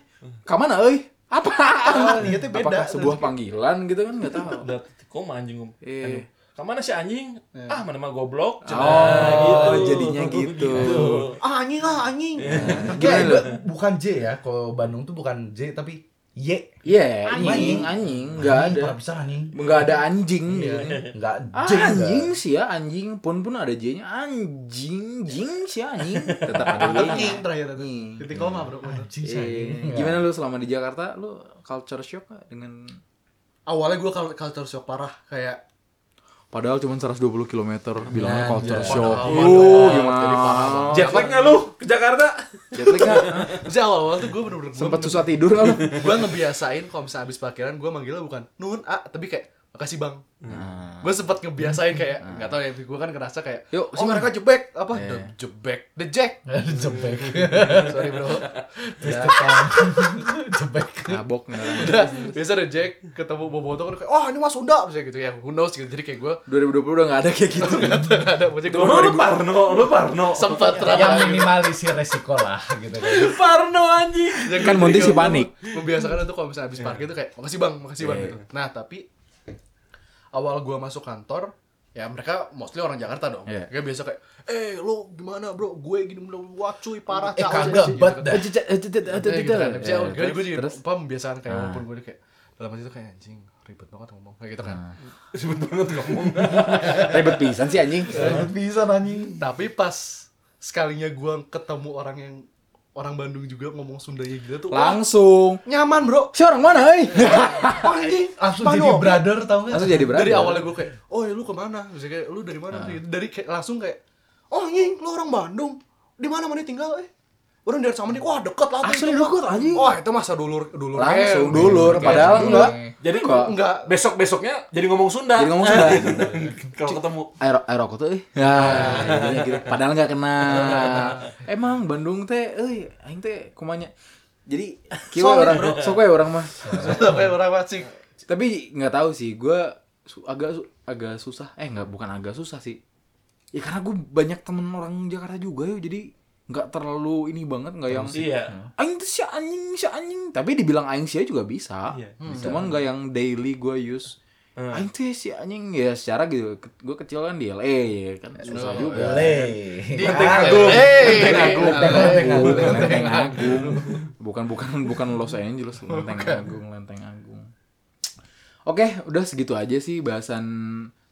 S2: kamana euy apa
S4: Oh, Niatnya beda.
S2: apakah sebuah panggilan gitu kan nggak tahu
S5: Udah titik koma anjing. um. Om.
S2: Eh.
S5: Anjing. Kamana si anjing? Ah, mana mah goblok. Nah,
S2: Oh, Iya. jadinya gitu.
S4: Ah anjing ah anjing
S2: Gimana
S4: Kayak
S2: lu?
S4: gua- Bukan J ya Kalau Bandung tuh bukan J tapi Y
S2: Iya, anjing,
S4: Anjing.
S2: anjing, nggak ada,
S4: Parah pisan anjing
S2: nggak ada anjing. gitu.
S4: Nggak
S2: Ah,
S4: J nggak.
S2: anjing sih ya, anjing pun pun ada j-nya, anjing, jing sih ya, anjing, tetap ada
S3: Anjing
S2: j-nya.
S3: terakhir itu.
S2: Anjing.
S3: Titik koma, Bro.
S4: Anjing sih
S2: Eh,
S4: anjing
S2: gimana lu selama di Jakarta, lu culture shock nggak dengan
S3: Awalnya gue culture shock parah kayak
S2: Padahal cuma 120 km bilangnya culture
S4: Anjay.
S2: shock.
S4: Padahal.
S2: Uh, gimana?
S5: Jet lag nggak lu ke Jakarta?
S2: Jet lag nggak?
S3: Jadi awal-awal tuh gue bener-bener
S2: Sempat susah tidur nggak lu?
S3: gue ngebiasain kalau misalnya abis parkiran gue manggilnya bukan nun a tapi kayak makasih bang gue sempat ngebiasain kayak nggak tahu ya gue kan ngerasa
S2: Nah.
S3: kayak
S2: Yuk,
S3: oh
S2: sini.
S3: mereka jebek apa
S2: Iya.
S3: the jebek the jack
S4: Jebek
S3: sorry bro
S4: Ya. Jebek
S2: Mabok nggak?
S3: udah biasa the jack ketemu boboto kan kayak oh ini mas Sunda misalnya gitu ya who knows gitu jadi kayak gue
S2: 2020 udah nggak ada kayak gitu.
S3: nggak ada maksudnya
S5: Lu lu
S3: gue
S5: Parno, lu Parno.
S3: sempat
S4: Yang
S3: terang
S4: minimalisir resiko lah gitu kan
S5: Parno anjing.
S2: Kan Monty si panik.
S3: Iya,
S2: Iya.
S3: membiasakan itu kalau misalnya habis parkir itu kayak makasih bang makasih bang gitu nah tapi awal gua masuk kantor ya mereka mostly orang Jakarta dong
S2: Iya.
S3: mereka biasa kayak eh lo gimana bro gue gini bener wah cuy parah
S4: Eh
S3: cak, cak,
S4: kagak
S3: cak,"
S4: bat
S3: gitu.
S4: dah
S3: Eh, gitu kan. Habis itu
S2: Iya,
S3: gue gue
S2: terus-
S3: jadi
S2: terus? Ah.
S3: apa membiasakan kayak walaupun gue kayak dalam hati itu kayak anjing ribet banget ngomong kayak gitu kan
S2: Ah.
S5: Sebut banget ngomong.
S2: Ribet pisan sih anjing.
S4: Bisa anjing
S3: tapi pas sekalinya gua ketemu orang yang orang Bandung juga ngomong Sundanya gila tuh wah,
S2: Langsung.
S3: nyaman bro
S2: Si orang mana, hei?
S3: wah ini
S4: Langsung jadi
S3: Bandung.
S4: brother tau gak
S2: Langsung jadi berani.
S3: Dari awalnya gue kayak, oh ya lu kemana? Misalnya kayak, lu dari mana?
S4: Nah.
S3: tuh Gitu. Dari kayak langsung kayak, oh anjing, lu orang Bandung. Di mana mana tinggal eh? Orang dari sama nih, wah deket lah. tuh
S2: Asli
S3: itu.
S2: deket, anjing.
S3: Wah itu masa dulur dulur.
S2: langsung
S3: eh,
S2: dulur.
S3: kayak
S2: Padahal
S3: dulur.
S2: enggak.
S5: Jadi
S2: Kok?
S3: Enggak.
S5: besok besoknya jadi ngomong Sunda.
S2: Jadi ngomong Sunda.
S5: Kalau ketemu
S2: Air air rokok tuh, eh. Ya, jadinya gitu. Padahal enggak kenal. Emang Bandung teh, euy, aing teh kumanya. Jadi kieu we orang, sok we orang mah.
S3: Sampai orang wacing.
S2: Tapi nggak tahu sih, gua su- agak su- agak susah. Eh nggak, bukan agak susah sih. Ya karena gue banyak temen orang Jakarta juga yo, jadi nggak terlalu ini banget nggak yang
S5: Iya.
S2: aing tuh si anjing si anjing tapi dibilang aing sia juga bisa Hmm,
S5: Iya,
S2: cuman nggak yang daily gue use aing tuh si anjing ya secara gitu gue kecil kan di LA ya kan susah juga
S4: Boleh
S3: Hey,
S2: Lenteng Agung bukan bukan bukan Los Angeles Lenteng Agung Lenteng Agung oke udah segitu aja sih bahasan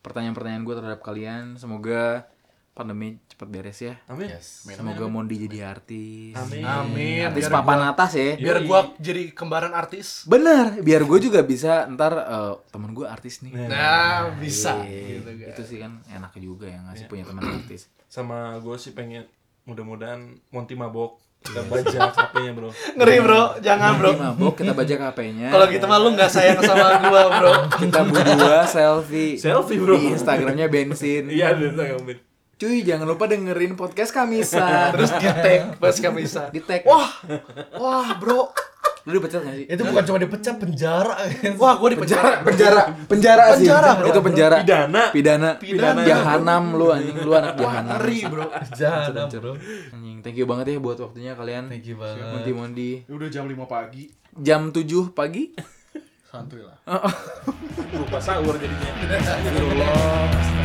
S2: pertanyaan-pertanyaan gue terhadap kalian semoga pandemi cepat beres ya
S5: Amin.
S2: semoga Mondi jadi artis
S5: Amin.
S3: Amin.
S2: artis
S3: Biar,
S2: papan atas ya
S3: biar gua jadi kembaran artis.
S2: Bener, biar gue juga bisa ntar eh, temen gue artis nih.
S3: Nah bisa.
S4: Iya.
S2: Eh,
S3: Gitu, guys. Iya.
S2: itu sih kan enak juga ya ngasih punya teman artis.
S5: Sama gue sih pengen mudah-mudahan Monty mabok kita bajak HP-nya, Bro.
S3: Ngeri bro, jangan Nah, bro.
S2: Nanti mabok kita bajak HP-nya.
S3: Kalau gitu mah lu nggak sayang sama gua bro.
S2: kita berdua selfie.
S5: Selfie, bro.
S2: Di Instagramnya bensin.
S5: Iya, bisa Amin.
S2: Cuy, jangan lupa dengerin podcast Kamisa.
S3: Terus
S2: Terus
S3: di tag pas kamisa.
S2: di tag.
S3: Wah, wah bro.
S2: lu dipecat gak sih?
S4: Itu bukan cuma dipecat penjara
S3: Wah, gue di penjara.
S2: penjara, penjara, penjara, sih.
S3: Penjara, bro.
S2: Itu penjara.
S5: Pidana.
S2: Pidana.
S3: Pidana.
S2: Jahanam lu anjing, lu anak jahanam.
S3: Ngeri, bro.
S4: Jahat bro
S2: Anjing, thank you banget ya buat waktunya kalian.
S4: Thank you banget.
S2: Mondi Mondi.
S3: Udah jam 5 pagi.
S2: Jam 7 pagi.
S3: Santuy lah.
S5: Lupa sahur jadinya.